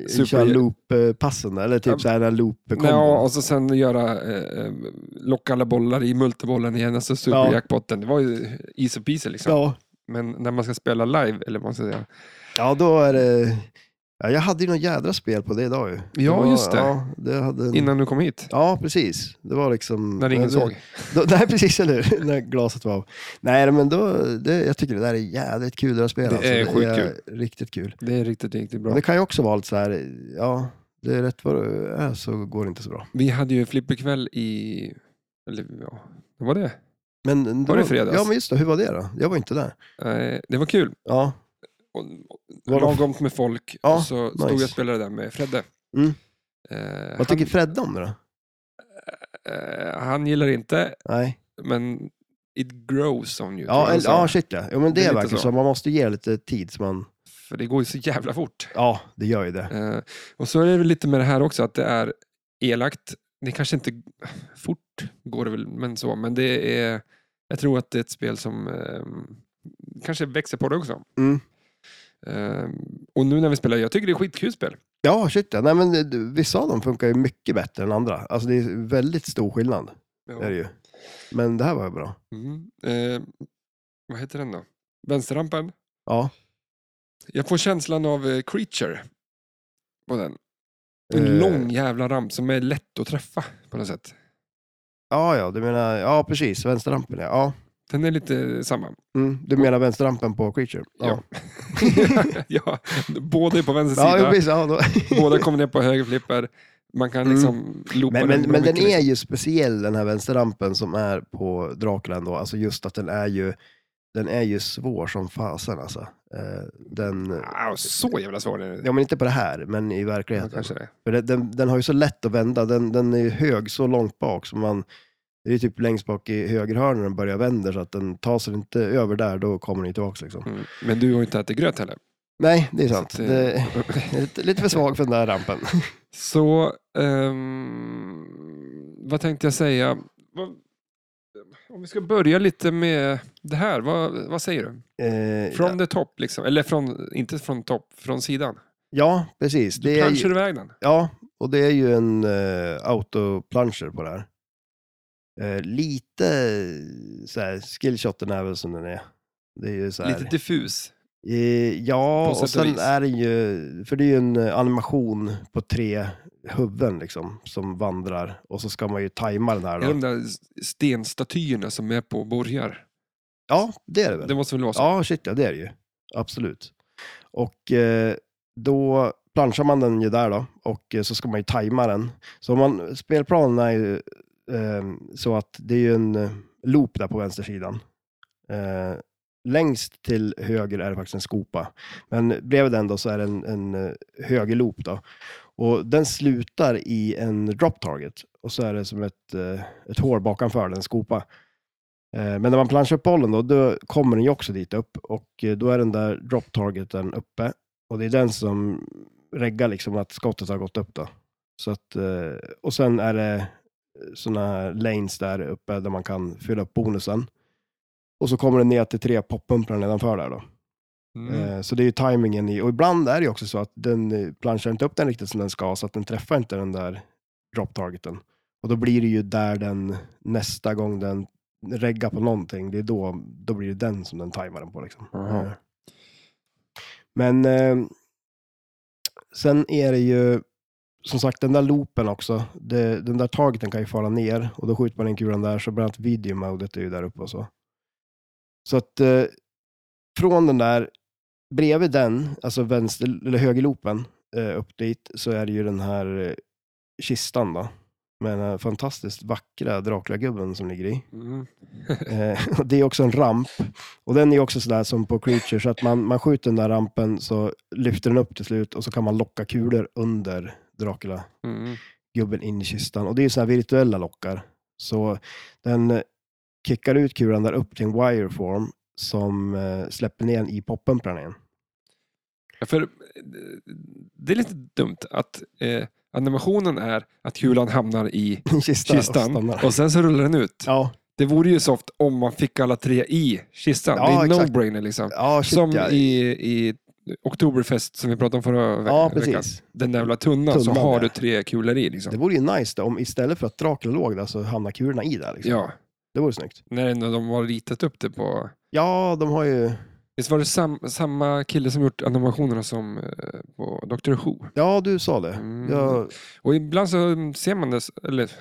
S1: super-
S2: Köra loop-passen, eller typ
S1: Ja.
S2: så här den loop
S1: Ja, och så sen göra, eh, eh, locka alla bollar i multibollen igen, alltså superjackpotten. Det var ju easy peasy liksom.
S2: ja.
S1: Men när man ska spela live, eller vad man ska säga,
S2: ja, då är det... Ja, jag hade ju något jädra spel på det idag ju.
S1: Ja,
S2: var,
S1: just det.
S2: Ja, det hade en...
S1: Innan du kom hit.
S2: ja, precis. Det var liksom...
S1: När ingen
S2: Mm. det-
S1: såg.
S2: Då, nej, precis, eller hur? När glaset var av. Nej, men då, det, jag tycker det där är jädrigt kul att spela.
S1: Det är sjukt
S2: Riktigt kul.
S1: Det är riktigt, riktigt
S2: Men
S1: bra.
S2: det kan ju också vara lite så här, ja, det är rätt vad det är så går det inte så bra.
S1: Vi hade ju flipperkväll i... Eller ja, det var det.
S2: Men, det
S1: Var det fredags?
S2: Ja, men just det. Hur var det då? Jag var inte där.
S1: Eh, Det var kul.
S2: Ja,
S1: Och,
S2: Var
S1: och,
S2: det-
S1: lagom med folk.
S2: Ja,
S1: och så stod
S2: nice.
S1: jag och spelade där med Fredde.
S2: Mm.
S1: Eh,
S2: vad tycker Fredde om det då?
S1: han, eh, han gillar inte,
S2: Nej.
S1: men it grows on you. tror jag
S2: Ja,
S1: han
S2: eller,
S1: sa.
S2: ja, shit ja. Jo, men det,
S1: Det är
S2: är
S1: lite
S2: verkligen
S1: så.
S2: så. Man måste ge lite tid så man,
S1: För det går ju så jävla fort.
S2: ja, det gör ju det.
S1: Eh, och så är det väl lite med det här också, att det är elakt. Det kanske inte fort går det väl, men så. Men det är, jag tror att det är ett spel som eh, kanske växer på det också.
S2: Mm.
S1: Eh, och nu när vi spelar, jag tycker det är skitkul spel.
S2: Ja, shit ja. Nej, men eh, du, vissa av dem funkar ju mycket bättre än andra. Alltså det är väldigt stor skillnad, är det ju. Men det här var ju bra.
S1: Mm. Eh, vad heter den då? Vänsterrampen?
S2: Ja.
S1: Jag får känslan av eh, Creature på den. En
S2: Eh,
S1: lång jävla ramp som är lätt att träffa på något sätt.
S2: Ja, ja, du menar, ja precis, vänsterrampen ja. ja.
S1: Den är lite samma.
S2: Mm, du menar vänsterrampen på Creature?
S1: ja, båda är på vänster
S2: ja, ja
S1: sida,
S2: precis. Ja, då.
S1: båda kommer ner på höger flipper. Man kan
S2: Mm.
S1: liksom loopa
S2: Men, men,
S1: bra
S2: men den
S1: mycket, liksom.
S2: är ju speciell den här vänsterrampen som är på Dracula ändå. Alltså just att den är ju, den är ju svår som fasen alltså. Eh, Den,
S1: liksom. Ah, så jävla svår är den.
S2: ja men inte på det här, men i
S1: Ja,
S2: verkligheten.
S1: kanske det.
S2: För den, den, den har ju så lätt att vända. Den, den är ju hög så långt bak som man, det är ju typ längst bak i högerhörnan den börjar vända så att den tar sig inte över där, då kommer den ju tillbaka liksom.
S1: Mm. Men du har ju inte ätit gröt heller.
S2: Nej, det är
S1: Så
S2: sant.
S1: att, eh,
S2: det, lite, lite för svag för den där rampen.
S1: Så, ehm, vad tänkte jag säga? Vad, om vi ska börja lite med det här, vad, vad säger du?
S2: Eh,
S1: Från the top, liksom. eller från, inte från topp, från sidan.
S2: Ja, precis.
S1: Du
S2: Det är
S1: planchar
S2: ju,
S1: iväg den.
S2: ja, och det är ju en uh, autoplancher på det här. Eh, lite eh, så här, skillshoten är väl som den är. Det är ju så här.
S1: Lite diffus.
S2: Eh,
S1: på
S2: ja, och
S1: sätt och
S2: sen
S1: vis.
S2: är det ju, för det är ju en eh, animation på tre huvuden liksom, som vandrar. Och så ska man ju tajma den här
S1: Är de
S2: då.
S1: där s- stenstatyerna som är på borgar?
S2: Ja, det är det väl.
S1: Det måste väl vara så?
S2: Ja, shit ja, det är det ju. Absolut. Och eh, då planchar man den ju där då och eh, så ska man ju tajma den. Så om man, spelplanen är ju eh, så att det är ju en eh, loop där på vänstersidan. Eh, längst till höger är det faktiskt en skopa, men bredvid den då så är det en, en eh, höger loop då. Och den slutar i en drop target och så är det som ett, eh, ett hår bakanför den skopa. Eh, Men när man planchar upp bollen då, då kommer den ju också dit upp och eh, då är den där drop targeten uppe och det är den som reggar liksom att skottet har gått upp då. Så att, eh, och sen är det sådana här lanes där uppe där man kan fylla upp bonusen. Och så kommer den ner till tre poppumprar nedanför där då.
S1: Mm.
S2: Eh, Så det är ju tajmingen i, och ibland är det ju också så att den eh, planchar inte upp den riktigt som den ska, så att den träffar inte den där drop targeten. Och då blir det ju där den, nästa gång den reggar på någonting, det är då, då blir det den som den tajmar den på liksom.
S1: Aha.
S2: Eh. Men eh, sen är det ju, som sagt den där loopen också, det, den där targeten kan ju falla ner och då skjuter man in kulan där, så bland annat videomodet är ju där uppe och så. Så att eh, från den där, bredvid den, alltså vänster, eller högerloopen, eh, upp dit, så är det ju den här eh, kistan då. Med den här fantastiskt vackra Dracula-gubben som ligger i.
S1: Mm.
S2: Eh, och det är också en ramp. Och den är också sådär som på Creature, så att man, man skjuter den där rampen så lyfter den upp till slut och så kan man locka kulor under Dracula
S1: Mm.
S2: gubben in i kistan. Och det är ju sådana här virtuella lockar. Så den eh, kickar ut kulan där upp till en wireform som eh, släpper ner den i poppumpraren igen.
S1: Ja, För eh, det är lite dumt att eh, animationen är att kulan hamnar i
S2: I kistan. och
S1: kistan
S2: stannar.
S1: och sen så rullar den ut.
S2: Ja,
S1: Det vore ju soft om man fick alla tre i kistan.
S2: Ja,
S1: det är en
S2: exakt.
S1: no-brainer liksom.
S2: ja shit,
S1: Som
S2: ja.
S1: i, i Oktoberfest som vi pratade om förra ve-
S2: ja,
S1: veckan.
S2: precis.
S1: Den där jävla tunnan så
S2: Tunnan,
S1: har
S2: ja.
S1: du tre kulor i. Liksom.
S2: Det vore ju nice då, om istället för att Dracula låg där så hamnar kulorna i där. Liksom.
S1: Ja,
S2: Det vore snyggt.
S1: när ändå de har ritat upp det på...
S2: Ja, de har ju...
S1: Visst var det sam, samma kille som gjort animationerna som eh, på Dr. Who?
S2: Ja, du sa det.
S1: Mm.
S2: Jag,
S1: Och ibland så ser man det, s- eller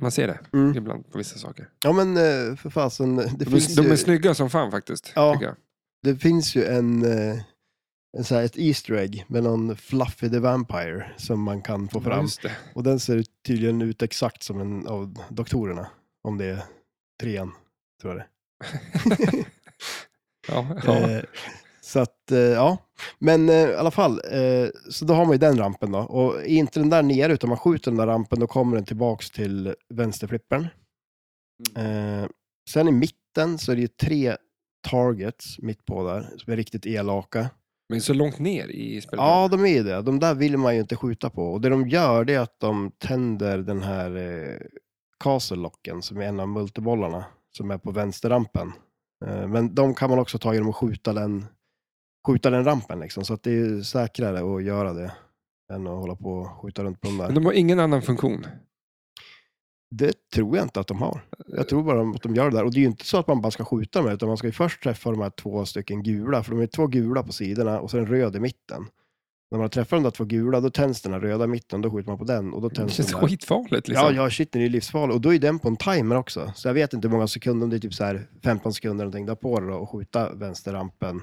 S1: man ser det
S2: mm.
S1: ibland på vissa saker.
S2: Ja, men eh, för fasen. Det,
S1: De,
S2: finns
S1: är- de
S2: ju,
S1: är snygga som fan faktiskt.
S2: Ja.
S1: tycker jag.
S2: det finns ju en, eh, en så här, ett Easter egg med någon Fluffy the Vampire som man kan få
S1: Ja,
S2: fram.
S1: just det.
S2: Och den ser tydligen ut exakt som en av doktorerna. Om det är trean, tror jag det
S1: Ja, ja.
S2: Eh, Så att, eh, ja. Men eh, i alla fall, eh, så då har man ju den rampen då. Och är inte den där nere, utan man skjuter den där rampen, då kommer den tillbaks till vänsterflippern. Eh, sen i mitten så är det ju tre targets mitt på där, som är riktigt elaka.
S1: Men så långt ner i spelet.
S2: Ja, de är ju det. De där vill man ju inte skjuta på. Och det de gör det är att de tänder den här eh, castle-locken som är en av multibollarna som är på vänsterrampen. Eh, men de kan man också ta genom att skjuta den, skjuta den rampen. Liksom. Så att det är ju säkrare att göra det än att hålla på och skjuta runt på de
S1: Men
S2: där.
S1: de har ingen annan funktion.
S2: Det tror jag inte att de har. Jag tror bara att de gör det där. Och det är ju inte så att man bara ska skjuta dem, utan man ska ju först träffa de här två stycken gula, för de är två gula på sidorna och så är den röd i mitten. När man träffar de där två gula, då tänds den här röda i mitten, då skjuter man på den och då
S1: Det
S2: tänds den
S1: känns
S2: där.
S1: skitfarligt. Liksom.
S2: Ja, ja, shit, den är ju livsfarlig. Och då är den på en timer också. Så jag vet inte hur många sekunder, om det är typ så här 15 sekunder någonting, där på det då, och skjuta vänsterrampen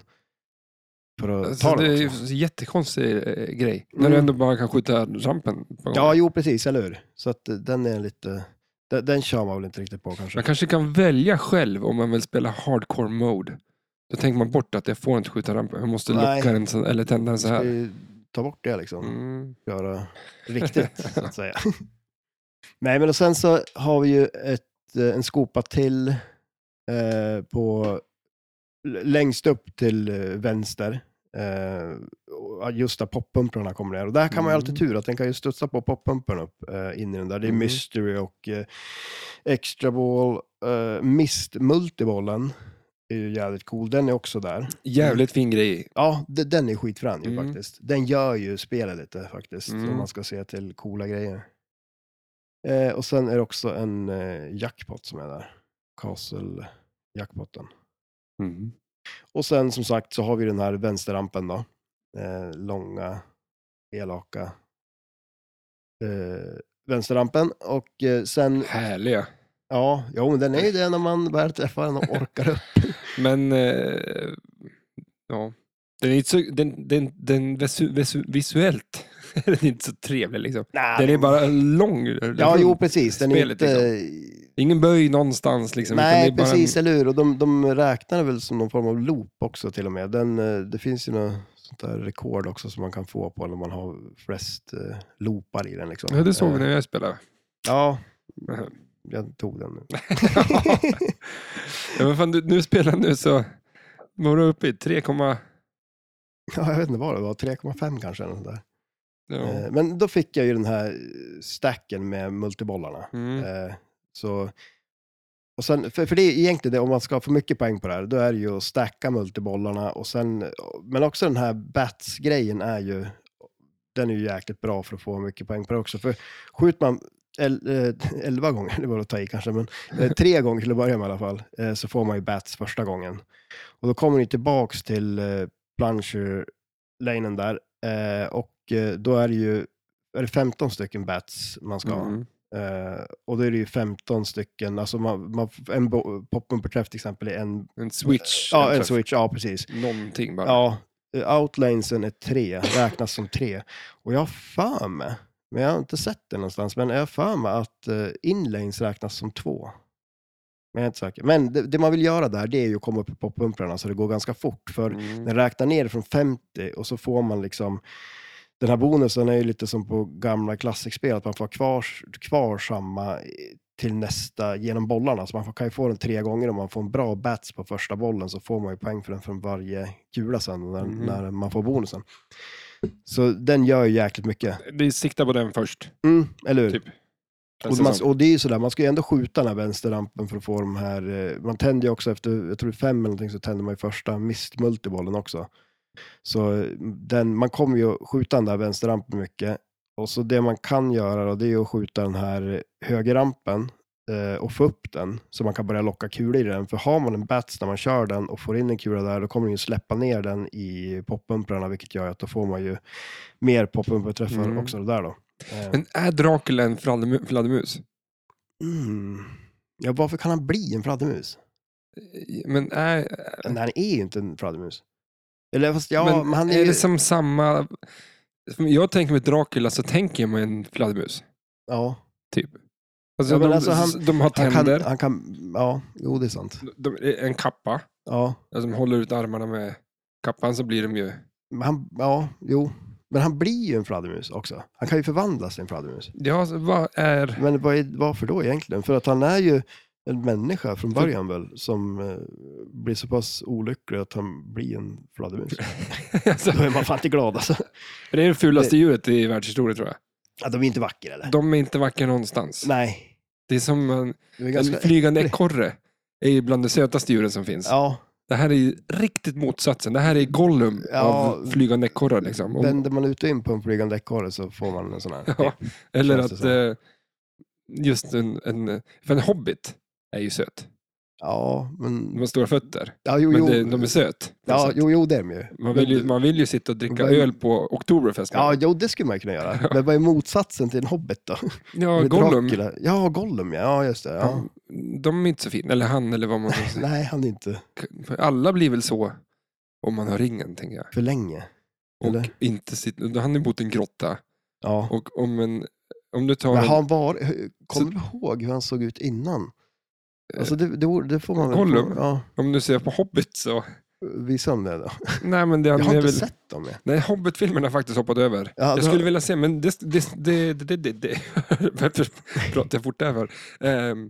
S2: för att
S1: Alltså,
S2: ta
S1: det är
S2: den
S1: ju
S2: också.
S1: en jättekonstig eh, grej. När
S2: Mm.
S1: du ändå bara kan skjuta rampen. På.
S2: Ja, jo, precis, eller hur? Så att eh, den är lite... Den, den kör man väl inte riktigt på kanske.
S1: Man kanske kan välja själv om man vill spela hardcore mode. Då tänker man bort att jag får inte skjuta rampen. Jag måste
S2: Nej.
S1: locka den så, eller tända den så
S2: Ska
S1: här.
S2: ju ta bort det liksom.
S1: Mm.
S2: göra riktigt, så att säga. Nej, men och sen så har vi ju ett, eh, en skopa till eh, på l- längst upp till eh, vänster. Eh, och just där poppumprarna kommer ner. Och där kan man ju alltid
S1: Mm.
S2: tur att den kan ju studsa på poppumpen upp eh, in i den där. Det är
S1: Mm.
S2: mystery och eh, extra ball. Eh, mist multibollen är ju jävligt cool. Den är också där.
S1: Jävligt fin grej.
S2: Ja, de- den är skitfrän ju
S1: Mm.
S2: faktiskt. Den gör ju spelet lite faktiskt,
S1: Mm.
S2: om man ska se till coola grejer. Eh, och sen är det också en eh, jackpot som är där. Castle-jackpotten. Mm. Och sen som sagt så har vi den här vänsterrampen då. Eh, långa, elaka eh, vänsterrampen. Och eh, sen,
S1: Härliga.
S2: ja, jo, men den är ju det när man väl träffar den och orkar upp.
S1: Men, eh, ja. Den är inte så, den, den, den visu, visu, visuellt den är inte så trevlig liksom.
S2: Nej,
S1: Den är
S2: men-
S1: bara lång.
S2: Ja, jo, precis. Den är
S1: spelet, liksom.
S2: inte...
S1: Ingen böj någonstans liksom. utan
S2: Nej,
S1: det är bara
S2: precis,
S1: En,
S2: eller hur? Och de, de räknar väl som någon form av loop också till och med. Den, eh, det finns ju något sånt där rekord också som man kan få på när man har flest eh, loopar i den. Liksom.
S1: ja, det såg vi
S2: Eh,
S1: när jag spelade.
S2: Ja, jag tog den nu.
S1: ja, men fan, du, nu spelar nu så var du uppe i 3,...
S2: ja, jag vet inte vad det var, 3,5 kanske. Eller något där.
S1: Ja.
S2: Eh, men då fick jag ju den här eh, stacken med multibollarna.
S1: Mm.
S2: Eh, så, och sen, för, för det är egentligen det, om man ska få mycket poäng på det här, då är det ju att stacka multibollarna. Och sen, men också den här bats-grejen är ju, den är ju jäkligt bra för att få mycket poäng på det också. För skjuter man el, eh, 11 gånger, det var att ta i kanske, men eh, tre gånger till att börja med i alla fall, eh, så får man ju bats första gången. Och då kommer ni tillbaks till eh, plunger-lanen där eh, och eh, då är det ju är det 15 stycken bats man ska ha.
S1: Mm.
S2: Eh, och då är det ju 15 stycken, alltså man, man, en bo- poppumperträff till exempel är en,
S1: En switch.
S2: Eh, ja, en
S1: träff.
S2: switch, ja precis.
S1: Någonting bara.
S2: Ja, eh, outlanesen är tre, räknas som tre. Och jag har för mig, men jag har inte sett det någonstans, men jag har för mig att eh, inlanes räknas som två. Men jag är inte säker. Men det, det man vill göra där, det är ju att komma upp i poppumprarna så det går ganska fort. För
S1: Mm.
S2: den räknar ner från 50 och så får man liksom den här bonusen är ju lite som på gamla klassikspel, att man får ha kvar, kvar samma eh, till nästa genom bollarna. Så man får- kan ju få den tre gånger om man får en bra bats på första bollen så får man ju poäng för den från varje kula sen när,
S1: Mhm.
S2: när man får bonusen. Så den gör ju jäkligt mycket.
S1: Vi siktar på den först.
S2: Mm, eller hur?
S1: Typ.
S2: Och, man, och det är ju sådär, man ska ju ändå skjuta den här vänsterrampen för att få de här, eh, man tänder ju också efter, jag tror det är fem eller någonting, så tänder man ju första mistmultibollen också. Så eh, den, man kommer ju att skjuta den där vänsterrampen mycket. Och så det man kan göra då, det är ju att skjuta den här högerrampen eh, och få upp den så man kan börja locka kulor i den. För har man en bats när man kör den och får in en kula där, då kommer den ju släppa ner den i poppumprarna, vilket gör att då får man ju mer poppumperträffar
S1: Mm.
S2: också där då. Eh,
S1: Men är Dracula en fladdermu- fladdermus?
S2: mm. Ja, varför kan han bli en fladdermus?
S1: Men är,
S2: Men han är ju inte en fladdermus. Eller fast ja, men,
S1: Äh. men
S2: han är,
S1: är,
S2: ju...
S1: det som samma... som Jag tänker med Dracula så tänker jag med en fladdermus.
S2: Ja,
S1: Typ. Alltså,
S2: Ja, men
S1: de,
S2: alltså han-
S1: han, de har
S2: han kan,
S1: tänder,
S2: han kan... Ja, jo det är sant.
S1: de, eh, en kappa.
S2: Ja,
S1: Alltså, de håller ut armarna med kappan så blir de ju...
S2: men han, ja, jo. Men han blir ju en fladdermus också. Han kan ju förvandlas till en fladdermus.
S1: Ja, alltså, vad är...
S2: Men vad är, varför då egentligen? För att han är ju en människa från början väl, som eh, blir så pass olycklig att han blir en fladdermus.
S1: alltså,
S2: Då är man fan inte glad alltså.
S1: det är det fulaste djuret i världshistorien tror jag.
S2: Ja, de är inte vackra eller?
S1: De är inte vackra någonstans.
S2: Nej.
S1: Det är som en,
S2: De är
S1: en
S2: ganska...
S1: flygande ekorre. är ju bland de sötaste djuren som finns.
S2: Ja,
S1: Det här är ju riktigt motsatsen. Det här är Gollum
S2: Ja.
S1: av flygande ekorrar. Liksom. Om-
S2: vänder man ut och in på en flygande ekorre så får man en sån här.
S1: Ja, eller
S2: Känns det
S1: att
S2: som.
S1: eh, just en, en, för en hobbit är ju söt.
S2: Ja, men...
S1: De har stora fötter,
S2: Ja, jo,
S1: men
S2: jo.
S1: det, de är söt. på
S2: ja,
S1: något sätt.
S2: jo, jo, det är de ju.
S1: Man vill, ju,
S2: Men-
S1: man vill ju sitta och dricka
S2: Men-
S1: öl på Oktoberfest.
S2: Ja, jo, det skulle man ju kunna göra. Men vad är motsatsen till en hobbit då?
S1: ja
S2: Med
S1: Gollum,
S2: Dracula. Ja, Gollum, ja. ja just det. Ja.
S1: han, de är inte så fina. Eller han, eller vad man nu säger.
S2: Nej, han är inte
S1: För Alla blir väl så om man har ringen, tänker jag.
S2: för länge.
S1: Och
S2: Eller?
S1: inte sitt, han har ju bott i en grotta.
S2: Ja.
S1: Och om, en, om du tar
S2: Men
S1: en,
S2: har han varit, hur-
S1: Så- Eh,
S2: kommer du ihåg hur han såg ut innan? Alltså det, det, vore- det får man väl...
S1: Gollum?
S2: Ja,
S1: om du ser på Hobbit så...
S2: visa honom det då.
S1: Nej, men det,
S2: Jag har
S1: det är
S2: inte
S1: väl,
S2: sett dem. Jag.
S1: Nej, Hobbit-filmerna har jag faktiskt hoppat över.
S2: Ja,
S1: Jag
S2: då-
S1: skulle vilja se, men det... det, det, det, det, det. Varför pratar jag fort där för? Ehm,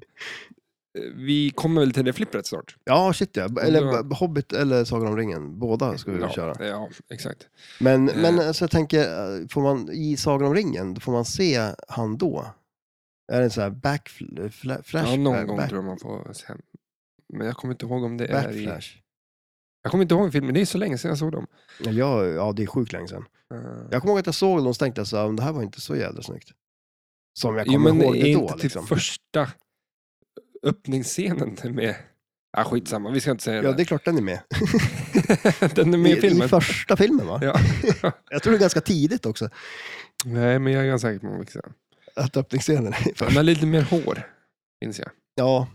S1: vi kommer väl till det flippret snart.
S2: ja shit ja. Eller
S1: Då-
S2: b- Hobbit eller Sagan om ringen. Båda ska vi väl köra.
S1: ja, exakt.
S2: Men,
S1: Eh.
S2: men alltså, jag tänker, eh, får man, i Sagan om ringen, då får man se han då? Är det en sån här back, fla, flash,
S1: Ja, någon
S2: back,
S1: gång
S2: back,
S1: tror jag man får se. Men jag kommer inte ihåg om det är i...
S2: backflash?
S1: Jag kommer inte ihåg filmen, det är så länge sedan jag såg dem.
S2: Ja, jag, ja, det är sjukt länge sedan.
S1: Eh,
S2: Jag kommer ihåg att jag såg dem och tänkte så här, "Men det här var inte så jävla snyggt. Som jag
S1: jo,
S2: kommer
S1: men
S2: ihåg
S1: är
S2: det då.
S1: inte till
S2: Liksom.
S1: första öppningsscenen med... Ah, skitsamma, vi ska inte säga
S2: Ja, det
S1: det.
S2: är klart den är med.
S1: Den är med i
S2: I,
S1: filmen.
S2: I första filmen va?
S1: Ja.
S2: Jag tror det är ganska tidigt också,
S1: Nej, men jag är ganska säker på vad vi säger.
S2: att öppningsscenen är i
S1: Han
S2: första.
S1: har lite mer hår, inser jag.
S2: Ja,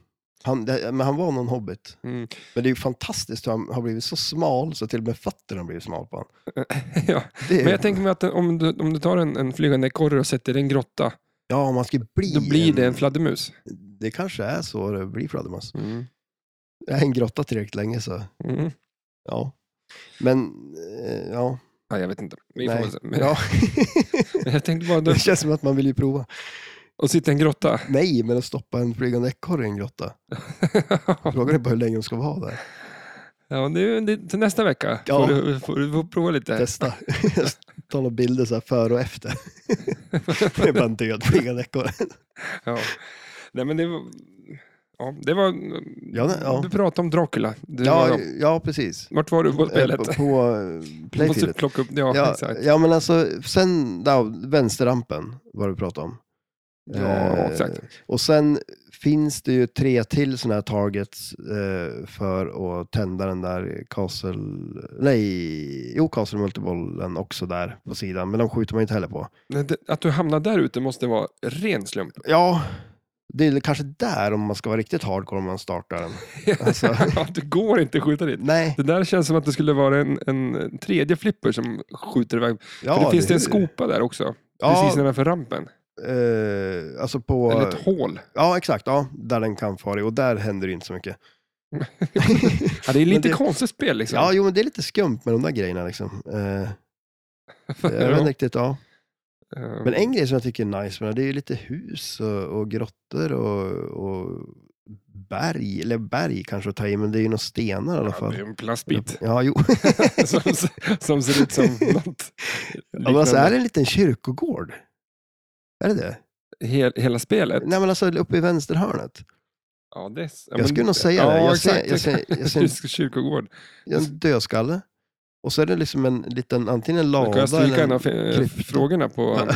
S2: han, det, men han var någon hobbit.
S1: Mm.
S2: Men det är ju fantastiskt hur han har blivit så smal så till och med fötterna har blivit smal på honom.
S1: ja.
S2: Det är,
S1: Men jag tänker mig att om du, om du tar en, en flygande ekorre och sätter i en grotta,
S2: ja, om man ska bli
S1: då blir det en fladdermus.
S2: Det kanske är så det blir för Adamas.
S1: Mm.
S2: Jag är i en grotta tillräckligt länge så,
S1: Mm.
S2: ja. Men, eh, ja.
S1: Ja, jag vet inte. Vi får
S2: Nej.
S1: väl se. Men,
S2: ja.
S1: men jag tänkte bara,
S2: det
S1: du-
S2: känns som att man vill ju prova.
S1: att sitta i en grotta.
S2: Nej, men att stoppa en flygande ekorre i en grotta. Frågan är bara hur länge de ska vara där.
S1: ja, nu, det, till nästa vecka
S2: Ja.
S1: får, du, får du får prova lite.
S2: Testa. Ta några bilder så här före och efter. Det är bara en död flygande ekorre.
S1: Ja. Nej, men det var... Ja, det var
S2: Ja, nej, ja.
S1: Du pratade om Dracula. Det var
S2: Ja,
S1: dem.
S2: ja, precis.
S1: Vart var du på
S2: Eh,
S1: spelet?
S2: På, på eh,
S1: Du måste
S2: playfieldet.
S1: plocka upp... Ja,
S2: Ja,
S1: exakt.
S2: ja, men alltså, sen ja, vänsterrampen var du pratade om.
S1: Ja,
S2: Eh,
S1: exakt.
S2: Och sen finns det ju tre till sådana här targets eh, för att tända den där Castle... Nej, jo, Castle Multibollen också där på sidan, men de skjuter man ju inte heller på.
S1: Nej, det- Att du hamnade där ute måste vara ren slump.
S2: Ja, det är kanske där om man ska vara riktigt hardcore om man startar den. Alltså.
S1: Ja, det går inte att skjuta dit.
S2: Nej,
S1: Det där känns som att det skulle vara en, en tredje flipper som skjuter iväg.
S2: ja,
S1: För det finns det en skopa där också,
S2: Ja,
S1: precis nedanför rampen.
S2: eh, alltså på...
S1: Eller ett hål.
S2: Ja, exakt. Ja, där den kan fara i och där händer det inte så mycket.
S1: Ja, det är lite
S2: det-
S1: konstigt spel liksom.
S2: Ja, jo, men det är lite skumt med de där grejerna liksom. Eh, jag vet inte riktigt, ja.
S1: Ehm,
S2: Men en grej som jag tycker är nice med det, det är ju lite hus och, och grottor och, och berg, eller berg kanske att ta i, men det är ju några stenar i alla
S1: ja, det
S2: fall.
S1: är en plastbit
S2: Ja, jo.
S1: som, som ser ut som något
S2: Ja, men alltså, är
S1: liknande.
S2: det en liten kyrkogård? Är det det?
S1: Hel, hela spelet.
S2: Nej, men alltså uppe i vänsterhörnet.
S1: Ja, det, är s- ja,
S2: Jag skulle nog säga
S1: ja,
S2: det. Jag ser,
S1: exakt.
S2: jag ser, jag ser,
S1: Kyrkogård.
S2: jag ser en dödskalle Och så är det liksom en liten, antingen en
S1: Kan jag
S2: lada
S1: stryka en
S2: eller
S1: av
S2: en...
S1: f-
S2: klyfta.
S1: frågorna på...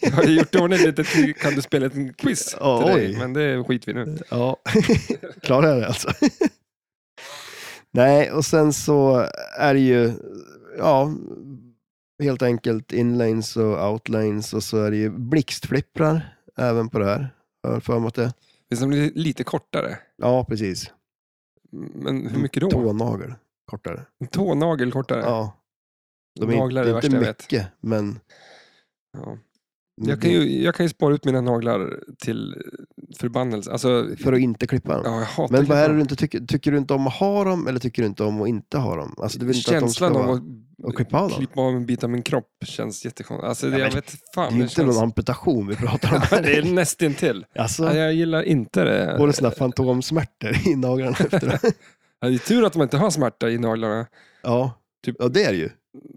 S1: Jag har ju gjort det ordentligt lite till, kan du spela ett quiz
S2: Ja,
S1: till dig?
S2: oj.
S1: Men det skiter vi nu.
S2: Ja, klarar jag det alltså. Nej, och sen så är det ju, ja, helt enkelt inlanes och outlanes och så är det ju blixtflipprar även på det här. Jag har för mig att det.
S1: Det är som li- lite kortare.
S2: Ja, precis.
S1: Men hur mycket då?
S2: Tånagel kortare.
S1: En tånagel kortare?
S2: Ja. De är
S1: Naglar är det
S2: inte, Mm,
S1: värsta jag
S2: inte
S1: vet.
S2: mycket, men...
S1: Ja. Jag, kan ju, jag kan ju spara ut mina naglar till förbannelse. Alltså,
S2: För att inte klippa dem.
S1: ja, jag hatar
S2: Men vad är det
S1: klippa.
S2: du inte tycker? Tycker du inte om att ha dem eller tycker du inte om att inte ha dem? Alltså, du vill inte
S1: Känslan
S2: att de ska
S1: av
S2: vara...
S1: att
S2: och klippa av dem?
S1: klippa av en bit av min kropp känns jättekonstigt. Alltså, det,
S2: Ja,
S1: jag
S2: men
S1: vet fan.
S2: Det är
S1: hur
S2: ju
S1: det
S2: inte
S1: känns.
S2: någon amputation vi pratar om.
S1: Ja, det är nästintill.
S2: Alltså,
S1: Ja, jag gillar inte det.
S2: Var det sådana fantomsmärtor i naglarna efteråt?
S1: Ja, Det är tur att man inte har smärta i naglarna.
S2: Ja,
S1: Typ-
S2: ja, det är det ju.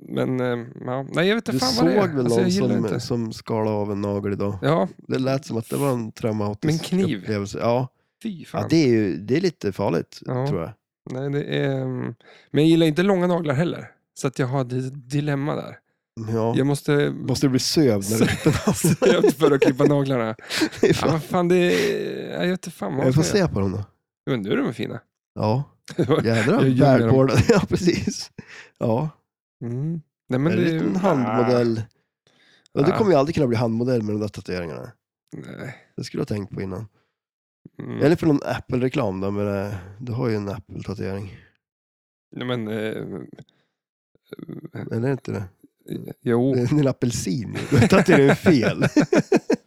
S1: Men eh, ja, nej, jag vet
S2: Du
S1: inte fan
S2: såg
S1: vad det är.
S2: väl någon
S1: Alltså, jag gillar
S2: som,
S1: inte.
S2: som skalade av en nagel idag?
S1: Ja,
S2: Det lät som att det var en traumatisk
S1: Med en kniv?
S2: upplevelse. Ja,
S1: fy fan.
S2: ja det, är ju, det är lite farligt
S1: Ja.
S2: tror jag.
S1: Nej, det är... mm, Men jag gillar inte långa naglar heller. Så att jag har ett dilemma där.
S2: Ja.
S1: Jag måste...
S2: Måste du bli sövd när du klipper naglarna?
S1: Sövd för att klippa naglarna.
S2: Det är
S1: Ja,
S2: fan-
S1: vad fan, det är... Jag vet inte fan vad
S2: Jag får
S1: jag ska göra.
S2: se på dem då.
S1: Men nu är de väl fina.
S2: Ja, jädrar.
S1: Jag gömmer dem.
S2: Välvårdade. Ja, precis. Ja,
S1: Mm. Nej, men
S2: är det
S1: är-
S2: en liten handmodell. Ja, du
S1: Ah.
S2: kommer ju aldrig kunna bli handmodell med de där tatueringarna.
S1: Nej.
S2: Det skulle jag ha tänkt på innan.
S1: Mm.
S2: Eller för någon Apple-reklam då, men eh, du har ju en Apple-tatuering.
S1: Nej, men... Eh...
S2: Eller är det inte det?
S1: Jo.
S2: Det är en apelsin ju. Du har tatuerat mig fel.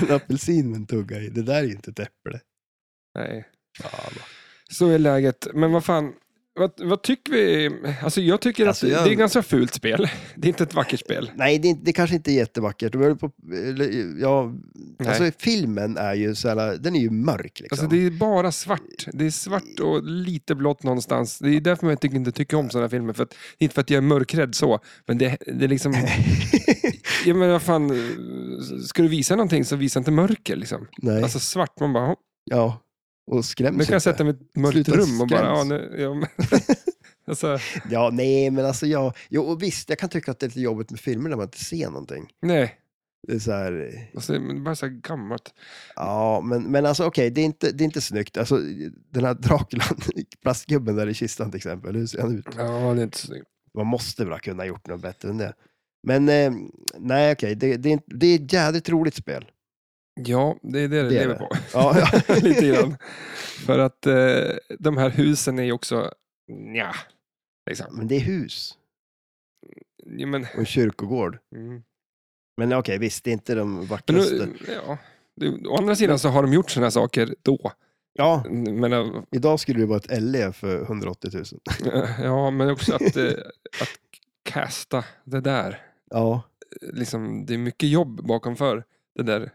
S2: en apelsin med en tugga i. Det där är ju inte ett äpple.
S1: Nej. Så är läget. Men vad fan, vad, vad tycker vi? Alltså jag tycker
S2: Alltså,
S1: att
S2: jag-
S1: det är ett ganska fult spel. Det är inte ett vackert spel.
S2: Nej, det, är inte, det kanske inte är jättevackert. Du höll på, eller, ja,
S1: Nej.
S2: alltså, filmen är ju så här, den är ju mörk. Liksom.
S1: Alltså det är bara svart. Det är svart och lite blått någonstans. Det är därför jag tycker- inte tycker om sådana här filmer. För att, inte för att jag är mörkrädd så, men det, det är liksom... Ja men vad fan, ska du visa någonting så visa inte mörker liksom.
S2: Nej,
S1: Alltså svart, man bara, "Hopp,
S2: ja. Och skräms
S1: nu kan jag
S2: inte.
S1: sätta mig i ett mörkt
S2: Sluta
S1: rum och bara, ja
S2: skräms.
S1: nu... Ja, men, alltså,
S2: Ja, nej, men alltså jag... Jo, och visst, jag kan tycka att det är lite jobbigt med filmer när man inte ser någonting.
S1: nej.
S2: Det är så här,
S1: Alltså, men det är bara så här gammalt.
S2: ja, men, men alltså okej, det, är inte, det är inte snyggt. Alltså, den här Draculan, plastgubben där i kistan till exempel, hur ser han ut?
S1: Ja, det är inte så snyggt.
S2: Man måste väl ha kunnat gjort något bättre än det. Men eh, nej, okej, det, det, är inte- det är ett jädrigt roligt spel.
S1: Ja, det är det det,
S2: Det är
S1: lever
S2: det.
S1: på.
S2: Ja, ja.
S1: Lite grann. För att eh, de här husen är ju också, nja, liksom.
S2: Men det är hus
S1: Ja, men,
S2: och en kyrkogård.
S1: mm.
S2: Men okej, visst, det är inte de
S1: men
S2: vackraste.
S1: nu, ja. Det- Å andra sidan så har de gjort sådana saker då.
S2: Ja,
S1: Men, eh,
S2: idag skulle det vara ett LE för 180 000.
S1: ja, men också att, eh, att casta det där.
S2: Ja,
S1: Liksom, det är mycket jobb bakom för det där eh,
S2: ja,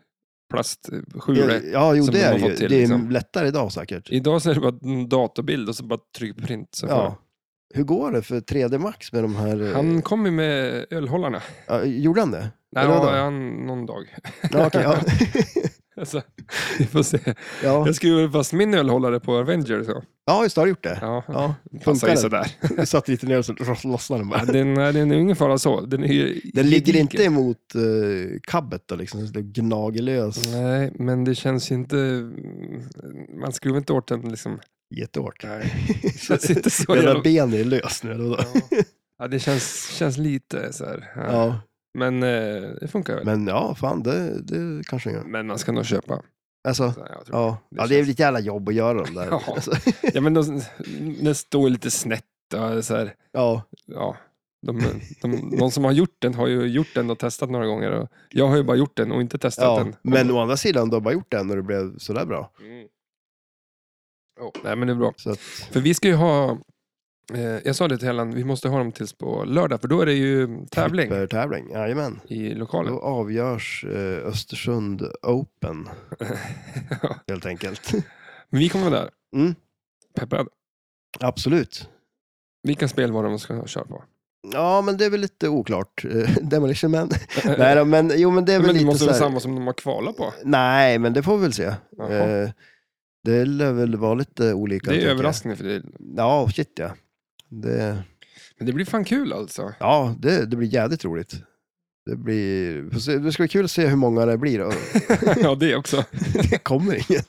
S1: plastskjulet.
S2: ja jo,
S1: Som
S2: det
S1: de
S2: är
S1: har
S2: ju.
S1: fått till,
S2: det är
S1: liksom.
S2: lättare idag säkert.
S1: Idag så är det bara en datorbild och så bara tryck print. Så
S2: Ja. Hur går det för 3D Max med de här? eh,
S1: Han kom ju med ölhållarna.
S2: ja, gjorde han det?
S1: Nej,
S2: Eller vadå?
S1: ja, han, någon dag.
S2: Ja, okej, ja.
S1: Alltså, vi får se.
S2: ja.
S1: Jag skruvar fast min ölhållare på Avenger. Så.
S2: ja, just det, har du gjort det?
S1: Ja, ja,
S2: Ja,
S1: passar ju
S2: funkar den?
S1: sådär.
S2: Du satte lite ner och så lossnade den
S1: Ja,
S2: bara.
S1: den, nej, den är ingen fara så. Den, är ju
S2: Den ligger
S1: gedigen.
S2: inte emot eh, kabbet då, liksom, så det gnager lös
S1: Nej, men det känns ju inte... Man skruvar inte åt den liksom.
S2: jättehårt.
S1: Nej. Det känns inte så
S2: Hela
S1: jävla...
S2: benet är lös nu. Eller vadå?
S1: Ja. Ja, det känns, känns lite så här. Ja.
S2: Ja,
S1: Men eh, det funkar väl.
S2: men ja, fan, det, det kanske den gör.
S1: Men man ska nog köpa.
S2: Alltså,
S1: Så, jag tror.
S2: ja.
S1: Det
S2: ja, det är
S1: känns-
S2: väl lite jävla jobb att göra dem där.
S1: Ja.
S2: Alltså,
S1: Ja, men de, den står lite snett. Ja, så här,
S2: ja.
S1: ja. De, de, de som har gjort den har ju gjort den och testat några gånger. Och jag har ju bara gjort den och inte testat
S2: ja.
S1: den.
S2: Men å andra sidan, du har bara gjort det när det blev sådär bra.
S1: Mm. Ja, nej, men det är bra.
S2: Så att,
S1: För vi ska ju ha... Eh, jag sa det till Helen, vi måste ha dem tills på lördag, för då är det ju tävling
S2: För tävling, jajamän.
S1: i lokalen.
S2: Då avgörs eh, Östersund Open,
S1: Ja.
S2: helt enkelt.
S1: Men vi kommer vara där.
S2: Mm.
S1: Peppad.
S2: Absolut.
S1: Vilka spel var det de ska köra på?
S2: Ja, men det är väl lite oklart. Eh, Demolition Man. Nej, då, men, jo, men det är väl
S1: men det
S2: lite
S1: måste
S2: så
S1: vara
S2: här...
S1: samma som de har kvalat på.
S2: Nej, men det får vi väl se.
S1: Jaha.
S2: Eh, det lär väl vara lite olika.
S1: det är
S2: tänker jag.
S1: överraskning för dig.
S2: Ja, shit ja. Det...
S1: Men det blir fan kul alltså.
S2: Ja, det, det blir jävligt roligt. Det, blir, får se- det ska bli kul att se hur många det blir. då.
S1: ja, det också.
S2: Det kommer ingen.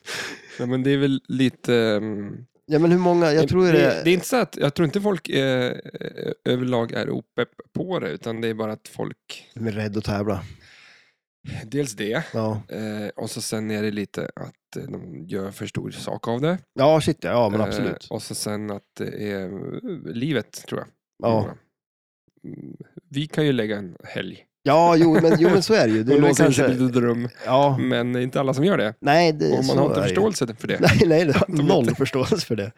S1: Ja, men det är väl lite... ehm,
S2: Ja, men hur många? Jag tror det,
S1: det är inte så att, jag tror inte folk eh, överlag är opepp på det, utan det är bara att folk...
S2: De är rädda att tävla.
S1: Dels det,
S2: Ja,
S1: eh, och så sen är det lite att eh, de gör för stor sak av det.
S2: ja shit ja. ja men
S1: Eh,
S2: absolut.
S1: Och så sen att det är eh, livet, tror jag.
S2: Ja,
S1: Mm, Vi kan ju lägga en helg
S2: ja jo, men, jo, men så är det ju. Det
S1: och
S2: är väl
S1: låsa in sig i ett
S2: kanske,
S1: litet rum,
S2: ja,
S1: men det är inte alla som gör det.
S2: nej, det,
S1: Mm. Och
S2: så
S1: man har inte
S2: är det ju.
S1: förståelse för det.
S2: Nej, nej, det har
S1: De
S2: noll
S1: inte-
S2: förståelse för det.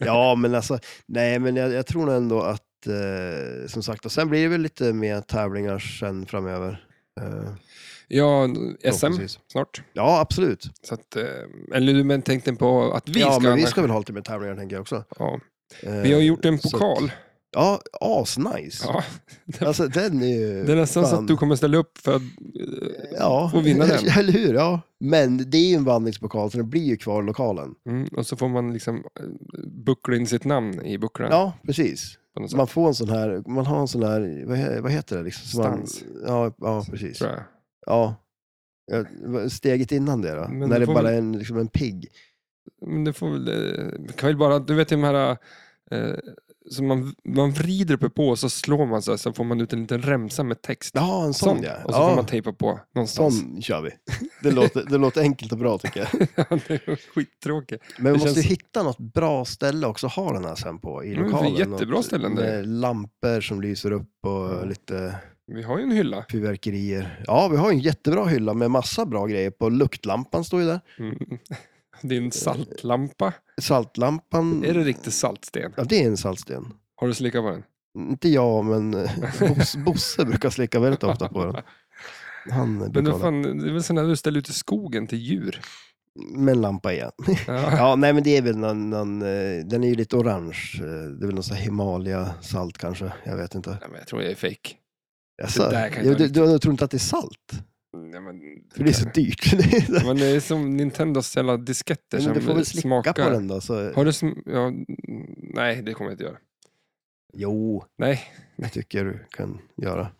S2: Ja, men alltså, nej, men jag, jag tror nog ändå att, eh, som sagt, och sen blir det väl lite mer tävlingar sen framöver. Eh,
S1: Ja, SM
S2: förhoppningsvis.
S1: snart.
S2: Ja, absolut.
S1: Så att, eh, eller du men tänkte på att vi
S2: ja,
S1: ska...
S2: men vi
S1: arrangera-
S2: ska väl ha lite mer tävlingar, tänker jag också.
S1: ja.
S2: Eh,
S1: Vi har gjort en
S2: så att-
S1: pokal.
S2: Ja, asnice.
S1: Ja,
S2: Alltså, den är ju...
S1: det är nästan så
S2: fan.
S1: att du kommer ställa upp för att eh,
S2: Ja,
S1: och vinna den.
S2: eller hur? Ja. Men det är ju en vandringspokal, så den blir ju kvar i lokalen.
S1: Mm, och så får man liksom eh, buckla in sitt namn i bucklan.
S2: Ja, precis.
S1: På något
S2: Så
S1: sätt,
S2: man får en sån här, man har en sån här, vad, he- vad heter det? Liksom? Så
S1: Stans.
S2: Man, ja, ja, precis.
S1: tror jag.
S2: Ja. Ja, vad- Steget innan det då?
S1: Men
S2: när
S1: då
S2: det
S1: får
S2: bara
S1: vi-
S2: är en, liksom en pigg.
S1: Men det får väl... eh, Kan väl bara, du vet de här... Eh, som man, man vrider uppe på och så slår man så här, så får man ut en liten remsa med text.
S2: Ja, en sån
S1: Sånt.
S2: ja.
S1: Och så får
S2: ja.
S1: man tejpa på någonstans.
S2: Sån kör vi. Det låter, det låter enkelt och bra tycker jag.
S1: det är skittråkigt.
S2: Men vi
S1: Det
S2: måste ju
S1: känns-
S2: hitta något bra ställe också att ha den här sen på i
S1: Mm, det är
S2: lokalen.
S1: jättebra
S2: Något
S1: ställen där.
S2: Med lampor som lyser upp och
S1: Mm.
S2: lite
S1: Vi har ju en hylla.
S2: fyrverkerier. Ja, vi har ju en jättebra hylla med massa bra grejer på. Luktlampan står ju där.
S1: Mm.
S2: Eh,
S1: Din saltlampa.
S2: Saltlampan.
S1: Är det riktigt saltsten?
S2: Ja, det är en saltsten.
S1: Har du slickat på den?
S2: Inte jag, men Bos, Bosse brukar slicka väldigt ofta på den. Han brukar
S1: Men det,
S2: hålla-
S1: fan, det är väl sån där du ställer ut i skogen till djur?
S2: med en lampa igen.
S1: Ja.
S2: Ja, nej men det är väl någon, någon eh, den är ju lite orange. Eh, Det är väl någon sån här Himalaya-salt kanske. Jag vet inte.
S1: Nej, men jag tror jag är fake.
S2: Alltså,
S1: Det där kan
S2: ja,
S1: jag
S2: du,
S1: inte-
S2: du, tror inte att det är salt?
S1: Nej, men,
S2: För det är så dyrt. Det är så-
S1: men det är som Nintendos jävla disketter
S2: Nej,
S1: som
S2: men du får väl slicka
S1: smakar.
S2: på den då. Så...
S1: Har du sm- ja, mm, nej, det kommer jag inte göra.
S2: Jo,
S1: Nej,
S2: det tycker jag du kan göra.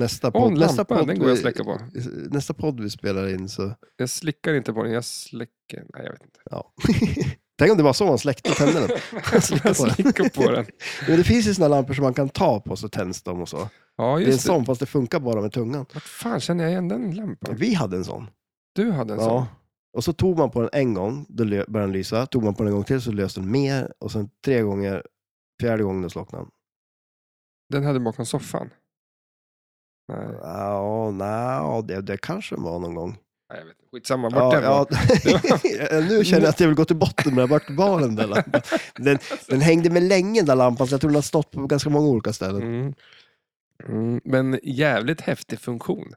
S2: Nästa
S1: åh,
S2: podd, nästa
S1: lampan,
S2: podd,
S1: den går jag att
S2: vi-
S1: släcka på.
S2: nästa podd vi spelar in så...
S1: Jag slickar inte på den, jag släcker. Nej, jag vet inte.
S2: Ja. Tänk om det var så man släckte tänderna.
S1: Jag
S2: slickar på den.
S1: slickar på den.
S2: Men det finns ju såna lampor som man kan ta på så tänds de och så.
S1: Ja,
S2: Det är en
S1: just det.
S2: sån, fast det funkar bara med tungan.
S1: Vart fan känner jag igen den lampan?
S2: Vi hade en sån.
S1: Du hade en sån.
S2: Ja. Och så tog man på den en gång, då lö- började den lysa. Tog man på den en gång till så löste den mer. Och sen tre gånger, fjärde gången då slocknade den.
S1: Den hade du bakom soffan. Nej,
S2: Ja, nej, det, det kanske var någon gång.
S1: nej, jag vet inte. Skitsamma, vart
S2: Ja,
S1: den var.
S2: ja. nu känner jag att jag vill gå till botten med vart var den där lampan. Den, den hängde med länge den där lampan, så jag tror den har stått på ganska många olika ställen.
S1: Mm. Mm. Men jävligt häftig funktion.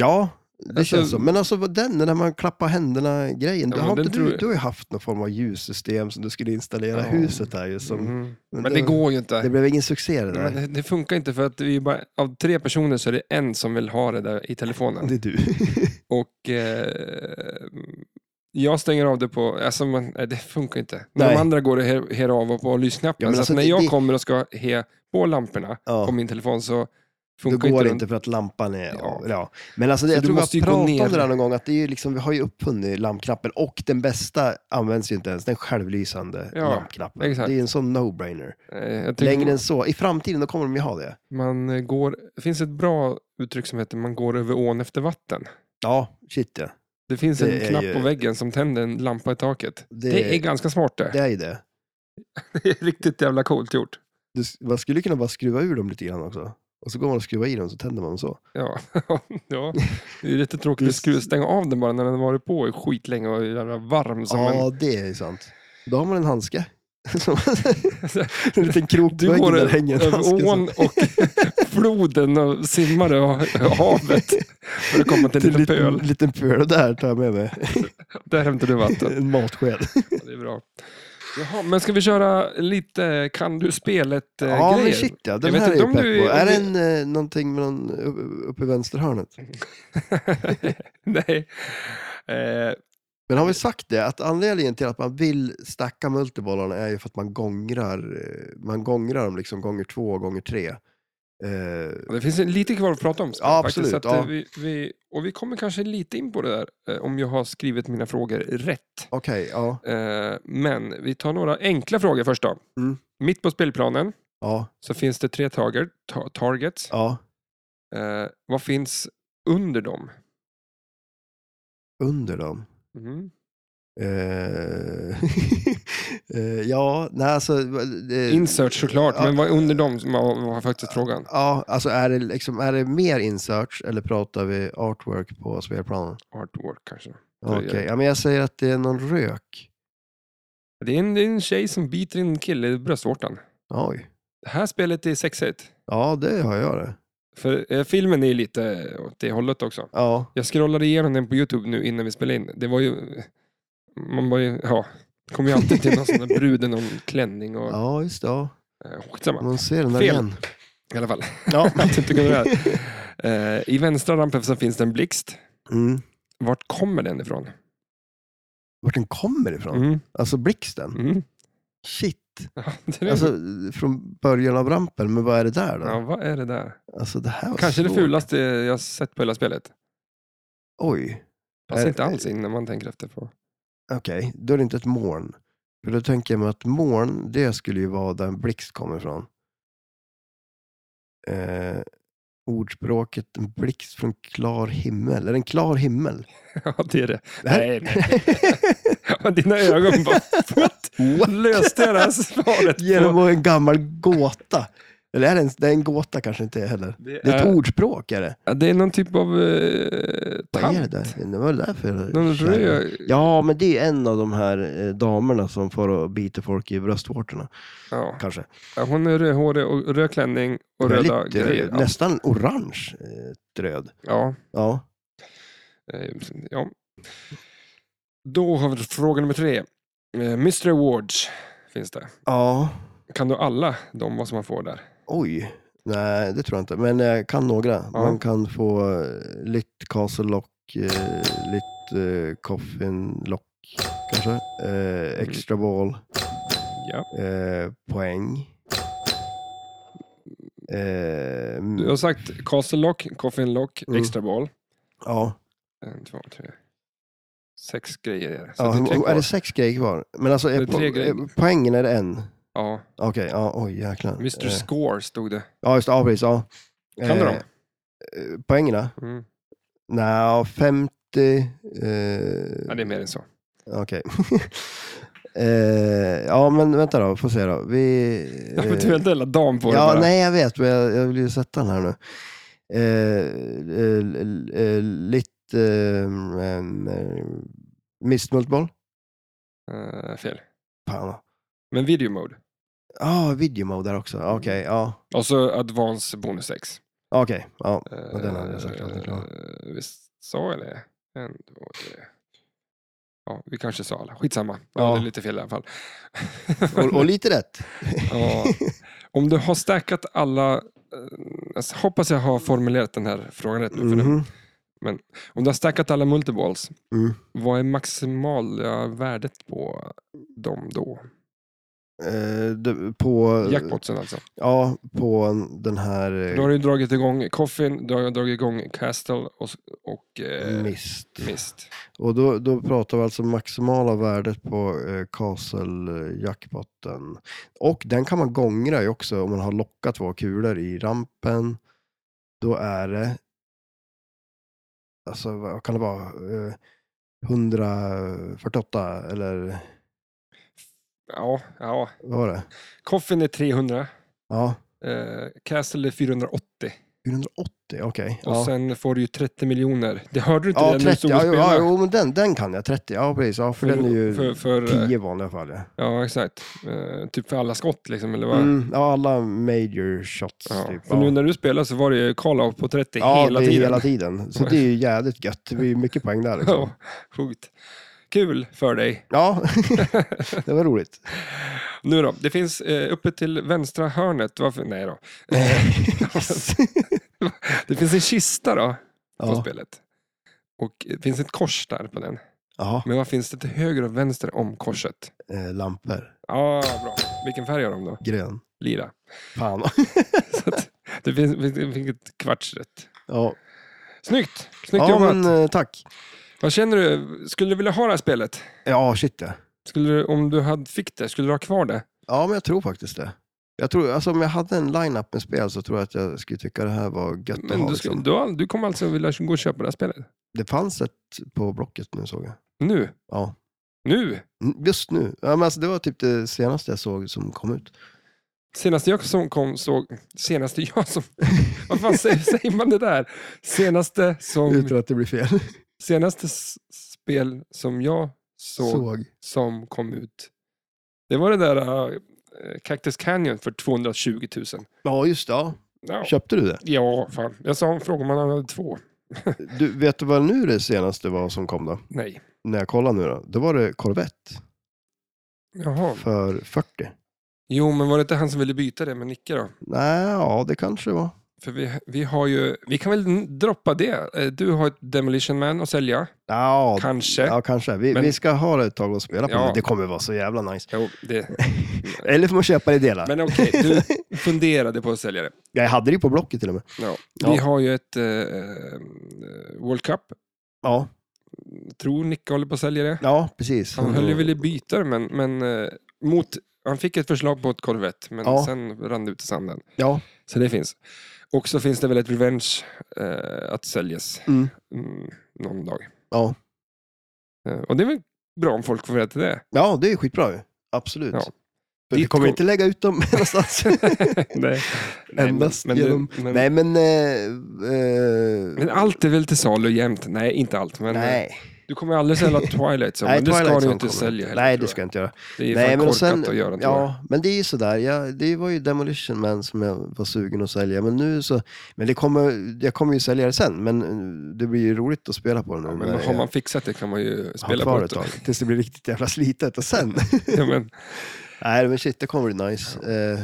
S2: Ja, det
S1: Alltså-
S2: känns så. Men alltså vad den, den där man klappar händerna-grejen.
S1: Ja,
S2: du,
S1: men
S2: har
S1: den
S2: inte
S1: tror
S2: du,
S1: jag-
S2: du har ju haft någon form av ljussystem som du skulle installera i
S1: Ja.
S2: huset här ju. Som,
S1: Mm. Men det går ju inte.
S2: Det blev ingen succé det
S1: Nej,
S2: där.
S1: men Det, det funkar inte för att vi är bara, av tre personer så är det en som vill ha det där i telefonen.
S2: Det är du.
S1: Och eh, jag stänger av det på, alltså man, nej, det funkar inte. När
S2: Nej.
S1: De andra går och her, her av och på lysknappen.
S2: Ja, men
S1: så
S2: alltså
S1: att när
S2: det-
S1: jag
S2: det-
S1: kommer och ska he på lamporna på
S2: Ja,
S1: min telefon så
S2: då
S1: funkar
S2: går det
S1: den.
S2: inte för att lampan är...
S1: Ja.
S2: Ja. Men alltså, det,
S1: Så
S2: jag
S1: du
S2: tror vi
S1: måste ju
S2: har
S1: gå
S2: pratat
S1: ner.
S2: om det där någon gång, att det är ju liksom, vi har ju uppfunnit lampknappen och den bästa används ju inte ens, den självlysande
S1: Ja,
S2: lampknappen.
S1: exakt.
S2: Det är ju en sån no-brainer.
S1: Eh, jag tycker
S2: Längre än så, i framtiden då kommer de ju ha det.
S1: man eh, går, det finns ett bra uttryck som heter man går över ån efter vatten.
S2: Ja, shit ja.
S1: Det finns
S2: Det
S1: en
S2: är
S1: knapp
S2: ju-
S1: på väggen som tänder en lampa i taket.
S2: Det,
S1: Det är ganska smart det.
S2: det är ju det.
S1: Det är riktigt jävla coolt gjort.
S2: Du, man skulle kunna bara skruva ur dem lite grann också. Och så går man och skruvar i dem så tänder man dem så.
S1: Ja, ja. det är lite tråkigt att
S2: Just-
S1: skruva, stänga av den bara när den har varit på i skitlänge och är jävla varm som
S2: ja,
S1: en...
S2: det är ju sant. Då har man en handske. Som- en liten krok på
S1: Du
S2: väggen
S1: går
S2: där hänger en handske.
S1: över
S2: så.
S1: ån och floden och simmar över havet för att komma till en
S2: Till
S1: liten
S2: liten,
S1: pöl.
S2: liten pöl där tar jag med mig.
S1: Där hämtar du vatten.
S2: en matsked.
S1: Ja, det är bra. Jaha, men ska vi köra lite kan du spelet eh,
S2: Ja, men
S1: grejer?
S2: shit ja.
S1: Jag
S2: Den
S1: vet
S2: här är
S1: inte
S2: jag
S1: om
S2: pepp på.
S1: du- om
S2: Är det
S1: du- Mm.
S2: en, eh, någonting med någon u- uppe i vänsterhörnet?
S1: Nej. Eh,
S2: Men har vi sagt det, att anledningen till att man vill stacka multibollarna är ju för att man gångrar, eh, man gångrar dem liksom gånger två och gånger tre. Eh,
S1: Det finns en- lite kvar att prata om. Sven,
S2: Ja,
S1: faktiskt,
S2: absolut,
S1: så att,
S2: ja.
S1: eh, vi, vi, och vi kommer kanske lite in på det där, eh, om jag har skrivit mina frågor rätt.
S2: Okej, ja.
S1: Eh, Men vi tar några enkla frågor först då.
S2: Mm.
S1: Mitt på spelplanen
S2: Ja,
S1: så finns det tre target, ta- targets.
S2: ja.
S1: Eh, Vad finns under dem?
S2: Under dem. Mm-hmm.
S1: Mhm.
S2: Eh, eh, ja, nej alltså... eh,
S1: Insert såklart,
S2: ja.
S1: men vad är under dem som var, var faktiskt frågan.
S2: Ja, alltså är det, liksom, är det mer insearch eller pratar vi artwork på spelplanen?
S1: Artwork kanske.
S2: Okej,
S1: Tröjor.
S2: ja, men jag säger att det är någon rök.
S1: Det är en, det är en tjej som biter en kille i bröstvårtan.
S2: Oj.
S1: Det här spelet är sexigt.
S2: Ja, det har jag det.
S1: För eh, filmen är lite åt det hållet också.
S2: Ja,
S1: Jag scrollade igenom den på Youtube nu innan vi spelade in. Det var ju... Man var ju... Ja. Det kom ju alltid till någon sån där brud i någon klänning och...
S2: ja Mm. just det. Ja.
S1: Eh, skitsamma.
S2: Man ser den där
S1: Fel.
S2: igen.
S1: I alla fall.
S2: Ja.
S1: Jag tyckte det var- eh, I vänstra rampen så finns det en blixt.
S2: Mm.
S1: Vart kommer den ifrån?
S2: Vart den kommer ifrån?
S1: Mm.
S2: Alltså blixten?
S1: Mm.
S2: Shit.
S1: Ja, det är
S2: Alltså från början av rampen, men vad är det där då?
S1: ja, vad är det där?
S2: Alltså det här var
S1: Kanske det
S2: svårt.
S1: fulaste jag sett på hela spelet.
S2: Oj,
S1: Passar
S2: Eh,
S1: inte alls in när man tänker efter på.
S2: okej. Då är det inte ett moln. För då
S1: Mm.
S2: tänker jag mig att moln, det skulle ju vara där en blixt kommer ifrån. Eh, ordspråket, en blixt från klar himmel. Är det en klar himmel?
S1: Ja, det är det.
S2: Det här-
S1: Nej, nej. Ja, Dina ögon bara, what? Löste jag det här svaret? på-
S2: Genom att en gammal gåta. Eller är det en, det är en gåta kanske inte är heller. Det är ett
S1: Eh,
S2: ordspråk är det.
S1: Ja, Det är någon typ av eh,
S2: Vad är det
S1: tant.
S2: där? Det var det där för
S1: Någon röd...
S2: Ja, men det är ju en av de här eh, damerna som får och biter folk i bröstvårtorna.
S1: Ja.
S2: Kanske.
S1: Ja, Hon är rödhårig och röd klänning och röda
S2: Väldigt, eh,
S1: grejer. Ja.
S2: Nästan orange eh, röd.
S1: Ja.
S2: Ja.
S1: eh, ja. Då har vi fråga nummer tre. Eh, Mystery Awards finns det.
S2: ja.
S1: Kan du alla de vad som man får där?
S2: Oj. Nej, det tror jag inte. Men jag kan några. Man kan få eh, lite Castle Lock, eh, lite eh, Coffin Lock kanske. Eh, extra ball,
S1: Ja.
S2: eh, poäng. Eh, mm,
S1: Du har sagt Castle Lock, Coffin Lock,
S2: Mm.
S1: Extra Ball.
S2: ja.
S1: En, två, tre. Sex grejer är det. Så
S2: Ja,
S1: det är tre
S2: hur- är
S1: kvar.
S2: det sex grejer kvar? Men alltså,
S1: Det
S2: är
S1: är
S2: po
S1: tre grejer.
S2: är poängen är det en?
S1: Ja.
S2: Okej, ja, oj jäklar.
S1: Mr
S2: Eh,
S1: Score stod det.
S2: Ja, just det, ja, precis. Ja.
S1: Kan du dem?
S2: Eh, Poängerna?
S1: Mm.
S2: Nja, 50... Eh,
S1: Ja, det är mer än så.
S2: Okej. eh, ja, men vänta då, får se då. Vi... eh,
S1: Ja, men du har inte hela dagen på det
S2: ja,
S1: bara.
S2: nej, jag vet, men jag, jag vill ju sätta den här nu. Eh, eh, l- eh, lite... Eh, eh, Mistmultboll?
S1: Eh, fel.
S2: Fan. Ja,
S1: Men video mode.
S2: ah, video mode där också. Okej, ja.
S1: Och så Alltså advance bonus 6.
S2: Okej, ja.
S1: Uh,
S2: den hade jag sagt att det
S1: Visst sa jag det? En, två, tre. Ja, vi kanske sa alla. Skitsamma. Ja.
S2: Ja.
S1: Det är lite fel i alla fall.
S2: Och, och lite rätt.
S1: ja. Om du har stackat alla... eh, alltså, hoppas jag har formulerat den här frågan rätt nu. För den.
S2: Mhm.
S1: Om du har stackat alla multiballs,
S2: Mm.
S1: vad är maximala värdet på dem då?
S2: Eh, det- på...
S1: Jackpotsen alltså.
S2: Ja, på en- den här... eh,
S1: Då har du dragit igång Coffin, du har dragit igång Castle och, och eh,
S2: Mist.
S1: Mist.
S2: Och då, då pratar vi alltså maximala värdet på eh, Castle-jackpotten. Och den kan man gångra ju också om man har lockat två kulor i rampen. Då är det... Alltså vad kan det vara? Eh, 148 eller
S1: Ja, ja.
S2: vad var det?
S1: Coffin är 300,
S2: Ja,
S1: eh, Castle är 480
S2: 480, okej.
S1: och
S2: ja.
S1: sen får du ju 30 miljoner. Det hörde du inte
S2: Ja,
S1: det när du
S2: 30.
S1: stod och
S2: Ja, jo,
S1: spelade?
S2: ja, jo, men den, den kan jag. 30. Ja, precis. Ja, för,
S1: För-
S2: den är ju
S1: för- för, eh,
S2: 10 i vanliga fall. Ja.
S1: Ja, exakt. Eh, typ för alla skott liksom, eller vad?
S2: Mm, ja, alla major shots.
S1: Ja.
S2: typ.
S1: För
S2: ja.
S1: nu när du spelade så var det ju call-out på 30
S2: ja,
S1: hela
S2: det är
S1: tiden.
S2: hela tiden. Så det är ju jävligt gött. Det blir ju mycket poäng där. Liksom.
S1: Ja, sjukt. Kul för dig.
S2: Ja, det var roligt.
S1: Nu då, det finns eh, uppe till vänstra hörnet. Varför? Nej då. Det finns en kista då, på
S2: ja.
S1: spelet. Och det finns ett eh, kors där på den.
S2: Jaha,
S1: Men vad finns det till höger och vänster om korset?
S2: eh, lampor.
S1: Ja, bra. Vilken färg har de då?
S2: Grön.
S1: Lila.
S2: Fan.
S1: Så att, det finns, det finns ett kvarts rätt.
S2: ja,
S1: Snyggt! Snyggt
S2: ja
S1: jobbat!
S2: men eh, tack.
S1: Vad känner du? Skulle du vilja ha det här spelet?
S2: Ja, shit ja.
S1: Skulle du, om du hade, fick det, skulle du ha kvar det?
S2: Ja, men jag tror faktiskt det. Jag tror, alltså, om jag hade en line-up med spel så tror jag att jag skulle tycka det här var gött att
S1: Men
S2: ha.
S1: du, ska,
S2: liksom.
S1: du, har- du kommer alltså vilja gå och köpa det här spelet?
S2: Det fanns ett på Blocket nu såg jag.
S1: Nu?
S2: Ja.
S1: Nu?
S2: Mm, Just nu. Ja, men alltså, det var typ det senaste jag såg som kom ut.
S1: Senaste jag som kom såg... Senaste jag som... Vad fan säger, säger man det där? Senaste som...
S2: Utan att det blir fel.
S1: Senaste s- spel som jag såg
S2: Såg.
S1: som kom ut. Det var det där äh, Cactus Canyon för 220 000.
S2: Ja, just det. Ja.
S1: Ja,
S2: Köpte du det?
S1: ja fan. Jag sa frågade om han hade två.
S2: Du, vet du vad nu det senaste var som kom då?
S1: Nej.
S2: När jag kollar nu då. Då var det Corvette
S1: Jaha.
S2: för 40.
S1: Jo, men var det inte han som ville byta det med Nicke då?
S2: Nej, ja det kanske det var.
S1: För vi, vi har ju... Vi kan väl n- droppa det. Eh, Du har ett Demolition Man att sälja.
S2: Ja,
S1: Kanske.
S2: ja kanske. Vi,
S1: Men-
S2: vi ska ha det ett tag och spela på
S1: Ja.
S2: det. Det kommer vara så jävla nice.
S1: Jo, det...
S2: Eller får man köpa det i delar.
S1: Men okej, du funderade på att sälja det.
S2: Jag hade det ju på Blocket till och med.
S1: Ja. Vi
S2: Ja.
S1: har ju ett eh, World Cup.
S2: Ja,
S1: Tror Nicke håller på att sälja det.
S2: ja precis. Mm.
S1: Han höll ju väl i bytar, men, men eh, mot, han fick ett förslag på ett Corvette, men
S2: Ja.
S1: sen rann det ut i sanden.
S2: Ja,
S1: Så det finns. Och så finns det väl ett Revenge eh, att säljas
S2: mm.
S1: mm, någon dag.
S2: ja.
S1: Eh, och det är väl bra om folk får veta det.
S2: ja det är ju skitbra ju. Absolut.
S1: Ja.
S2: Men Vi
S1: Dit
S2: kommer
S1: kom-
S2: inte lägga ut dem någonstans.
S1: Nej.
S2: Endast
S1: du-
S2: genom-
S1: men,
S2: Nej, men... Eh, eh,
S1: men allt är väl till salu jämt? Nej, inte allt. Men, eh,
S2: Nej,
S1: Du kommer aldrig sälja Twilight Zone,
S2: nej
S1: men det ska
S2: Twilight
S1: du ju
S2: Zone
S1: inte
S2: kommer.
S1: sälja heller,
S2: Nej,
S1: tror
S2: det
S1: jag.
S2: ska jag inte göra.
S1: Det är ju
S2: Nej,
S1: fan
S2: men och
S1: korkat
S2: sen-
S1: att göra. tror jag.
S2: Ja, men det är ju sådär. Jag, det var ju Demolition Man som jag var sugen att sälja. Men nu så, men det kommer, jag kommer ju sälja det sen, men eh, det blir ju roligt att spela på det nu.
S1: Ja,
S2: när
S1: men har
S2: jag
S1: man fixat det kan man ju
S2: har
S1: spela
S2: kvar
S1: på
S2: det ett tag. Tills det blir riktigt jävla slitet och sen.
S1: Ja, men,
S2: Nej, men shit, det kommer bli nice. Eh,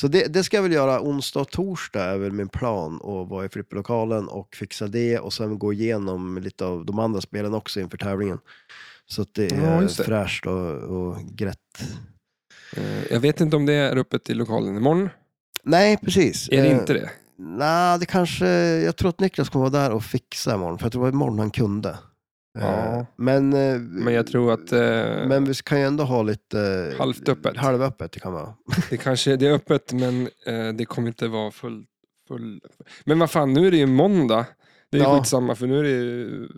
S2: så det, det ska jag väl göra onsdag och torsdag är väl min plan och vara i flipperlokalen och fixa det och sen gå igenom lite av de andra spelen också inför tävlingen. Så att det
S1: Ja,
S2: är
S1: just det.
S2: fräscht och, och grätt.
S1: eh, jag vet inte om det är öppet i lokalen imorgon.
S2: Nej, precis.
S1: Är det
S2: Eh,
S1: inte det?
S2: Nej, det kanske... Jag tror att Niklas kommer vara där och fixa imorgon, för jag tror det var imorgon han kunde.
S1: Ja.
S2: Eh, Men, eh,
S1: Men jag tror att eh,
S2: men vi kan ju ändå ha lite... eh,
S1: Halvt öppet.
S2: Halvöppet, det kan vara.
S1: det kanske det är öppet, men eh, det kommer inte vara full, full... Men vad fan, nu är det ju måndag. Det är
S2: Ja.
S1: skitsamma, för nu är det ju...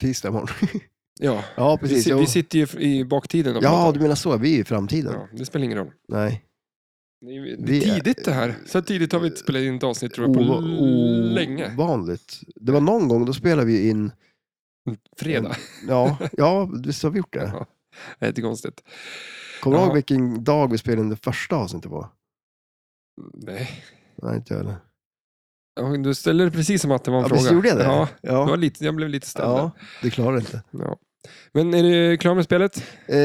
S2: Tisdag imorgon.
S1: Ja,
S2: ja,
S1: vi,
S2: precis.
S1: si-
S2: jo.
S1: vi sitter ju i baktiden. och
S2: ja,
S1: pratar.
S2: du menar så. Vi är ju i framtiden.
S1: ja, det spelar ingen roll.
S2: Nej.
S1: Det är ju
S2: Vi är-
S1: tidigt det här. Så tidigt har vi inte spelat in ett avsnitt tror jag, på
S2: Ova-
S1: länge.
S2: Ovanligt. Det var någon gång, då spelade vi in...
S1: Fredag.
S2: Ja, ja visst har vi gjort det?
S1: Ja. Det är inte konstigt.
S2: Kommer du
S1: Ja.
S2: ihåg vilken dag vi spelade in det första avsnittet på?
S1: Nej.
S2: Nej, inte jag heller.
S1: Ja, Du ställer det precis som att det var en
S2: Ja,
S1: fråga.
S2: visst gjorde jag det?
S1: Ja, det var
S2: Ja,
S1: lite, jag blev lite ställd.
S2: ja
S1: Ja.
S2: det klarar jag inte.
S1: Men är du klar med spelet?
S2: Eh,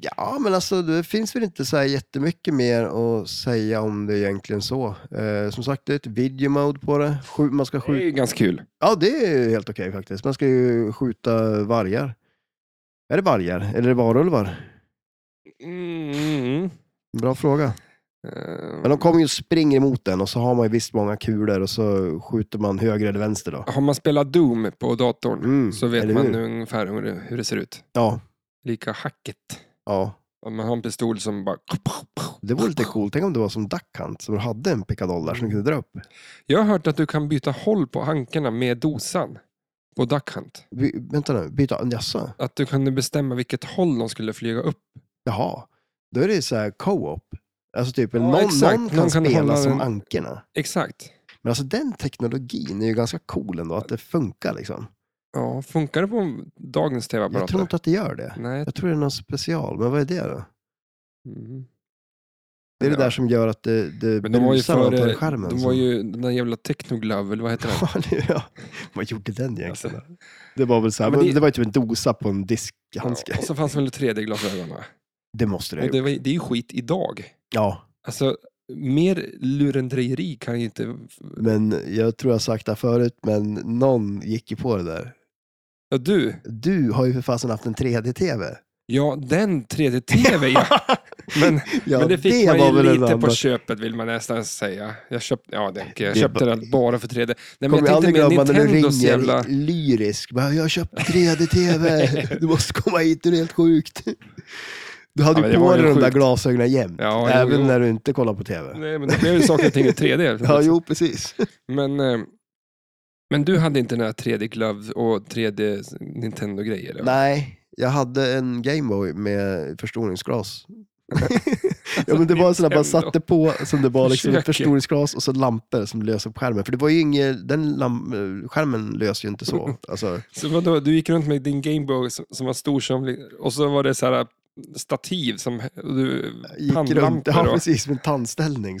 S2: ja, men alltså det finns väl inte så här jättemycket mer att säga om det egentligen så. Eh, som sagt, det är ett video mode på det. Skju- man
S1: Det
S2: ska
S1: är
S2: skjuta...
S1: ju ganska kul.
S2: Ja, det är helt okej faktiskt. Man ska ju skjuta vargar. Är det vargar eller är det varulvar?
S1: Mm, mm, mm.
S2: Bra fråga.
S1: Eh,
S2: Men de kommer ju och springer emot den och så har man ju visst många kulor och så skjuter man höger eller vänster då.
S1: Har man spelat Doom på datorn
S2: Mm,
S1: så vet
S2: eller
S1: man
S2: hur?
S1: ungefär hur det, hur det ser ut.
S2: Ja,
S1: Lika hacket.
S2: ja.
S1: Om man har en pistol som bara...
S2: Det vore lite coolt. Tänk om det var som Duck Hunt som hade en pickadoll där som du kunde dra upp.
S1: Jag har hört att du kan byta håll på hankarna med dosan på Duck Hunt.
S2: By- vänta nu, byta. Jaså?
S1: Att du kunde bestämma vilket håll de skulle flyga upp.
S2: Jaha, då är det så här co-op. Alltså typ
S1: Ja,
S2: någon,
S1: exakt.
S2: någon kan,
S1: Någon kan hålla
S2: spela som
S1: den-
S2: ankerna.
S1: Exakt.
S2: Men alltså den teknologin är ju ganska cool ändå, att det funkar liksom.
S1: Ja, funkar det på dagens
S2: Jag
S1: tv-apparater?
S2: tror inte att det gör det.
S1: Nej.
S2: Jag tror det är någon special, men vad är det då?
S1: Mm.
S2: Det är det
S1: Ja.
S2: där som gör att det, det
S1: Men de var ju
S2: brusar före, på
S1: före,
S2: skärmen.
S1: de var ju den där jävla Technoglove, eller vad heter den?
S2: som... ja, vad gjorde den egentligen?
S1: Alltså,
S2: Det var väl så här,
S1: Men
S2: men det...
S1: det-
S2: var ju typ en dosa på en
S1: ja, alltså.
S2: diskhandske.
S1: och så fanns väl 3D-glasögon va?
S2: Det måste det
S1: Och
S2: ju.
S1: det, var, det är ju skit idag.
S2: Ja,
S1: Alltså, mer lurendrejeri kan ju inte...
S2: men jag tror jag har sagt det här förut, men någon gick ju på det där.
S1: Ja, du.
S2: Du har ju för fasen haft en 3D-TV.
S1: Ja, den 3D-TV ja. Men,
S2: Ja,
S1: men det fick man ju
S2: väl en
S1: lite på
S2: annan-
S1: köpet vill man nästan säga. Jag köpte, ja, det, jag
S2: Det är
S1: köpte
S2: ba-
S1: den bara för 3D. Nej, men
S2: Kommer
S1: jag
S2: jag
S1: tänkte
S2: aldrig
S1: mer
S2: glömma när du
S1: Nintendos
S2: ringer
S1: jävla...
S2: lyrisk. Bara, jag har köpt 3D-TV. du måste komma hit, du är helt sjukt. Du
S1: Ja,
S2: hade
S1: men
S2: ju
S1: det
S2: på
S1: var
S2: dig
S1: ju
S2: de där
S1: sjukt.
S2: glasögonen jämt.
S1: Ja, jo,
S2: även
S1: jo.
S2: när du inte kollar på TV.
S1: Nej, alltså. men det blev ju saker och ting i 3D.
S2: Ja, jo, precis.
S1: Men, eh, men du hade inte den här 3D Glove och 3D Nintendo-grejer? eller?
S2: Nej, jag hade en Gameboy med förstoringsglas. ja, men det var en sån där man
S1: Nintendo.
S2: satte på som det var liksom ett
S1: Försöker.
S2: förstoringsglas och så lampor som lös upp skärmen. För det var ju ingen, den lam- skärmen lös ju inte så. Alltså,
S1: Så vadå, du gick runt med din Gameboy som, som var stor som... Och så var det så här äh, stativ som... och Du,
S2: gick runt,
S1: pannlampor
S2: ja
S1: och-
S2: precis, med tandställning.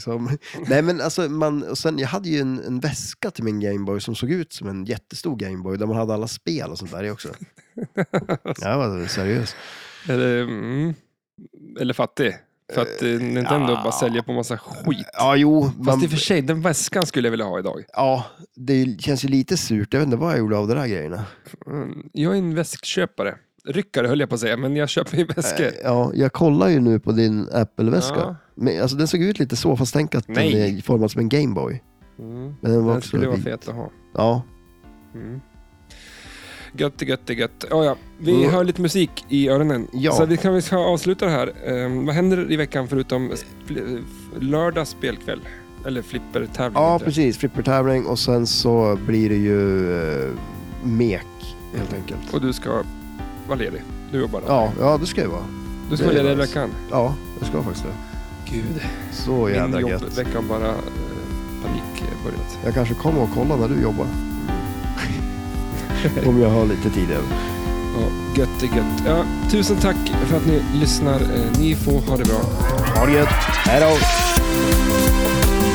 S2: Som, nej men alltså, man, och sen, jag hade ju en, en väska till min Gameboy som såg ut som en jättestor Gameboy, där man hade alla spel och sånt där i också. Jag var seriös.
S1: Eller, mm, eller fattig. För att eh, Nintendo
S2: ja.
S1: bara säljer på massa skit.
S2: Ja, jo.
S1: Fast
S2: Man,
S1: i och för sig, den väskan skulle jag vilja ha idag.
S2: ja, det känns ju lite surt, jag vet inte vad jag gjorde av de där grejerna.
S1: Mm, Jag är en väskköpare. Ryckare höll jag på att säga, men jag köper ju väskor.
S2: Ja, jag kollar ju nu på din Apple-väska.
S1: Ja.
S2: Men, alltså, den såg ut lite så, fast tänk att den
S1: Nej.
S2: är formad som en Gameboy.
S1: Mm.
S2: Men den var
S1: Den
S2: också
S1: skulle vara
S2: vit.
S1: fet att ha.
S2: Ja,
S1: Mm. Gött, gött, gött. Oh, ja. Vi
S2: Mm.
S1: hör lite musik i öronen.
S2: Ja.
S1: Så vi kan vi ska avsluta det här. Ehm, vad händer i veckan förutom spl- lördag spelkväll? Eller flippertävling?
S2: ja
S1: heter det.
S2: precis. Flippertävling och sen så blir det ju eh, mek, helt enkelt.
S1: Och du ska vara ledig. Du jobbar då.
S2: Ja, ja det ska jag vara.
S1: Du ska
S2: det
S1: vara
S2: är
S1: ledig i
S2: nice.
S1: veckan.
S2: Ja, jag ska faktiskt det.
S1: Gud,
S2: Så jävla
S1: min
S2: gött.
S1: jobbvecka har bara eh, panik eh, börjat.
S2: Jag kanske kommer och kollar när du jobbar. Om jag har lite tid över.
S1: Ja, gött, gött. Ja, tusen tack för att ni lyssnar. Eh, ni får ha det bra.
S2: Ha det gött. Hej då!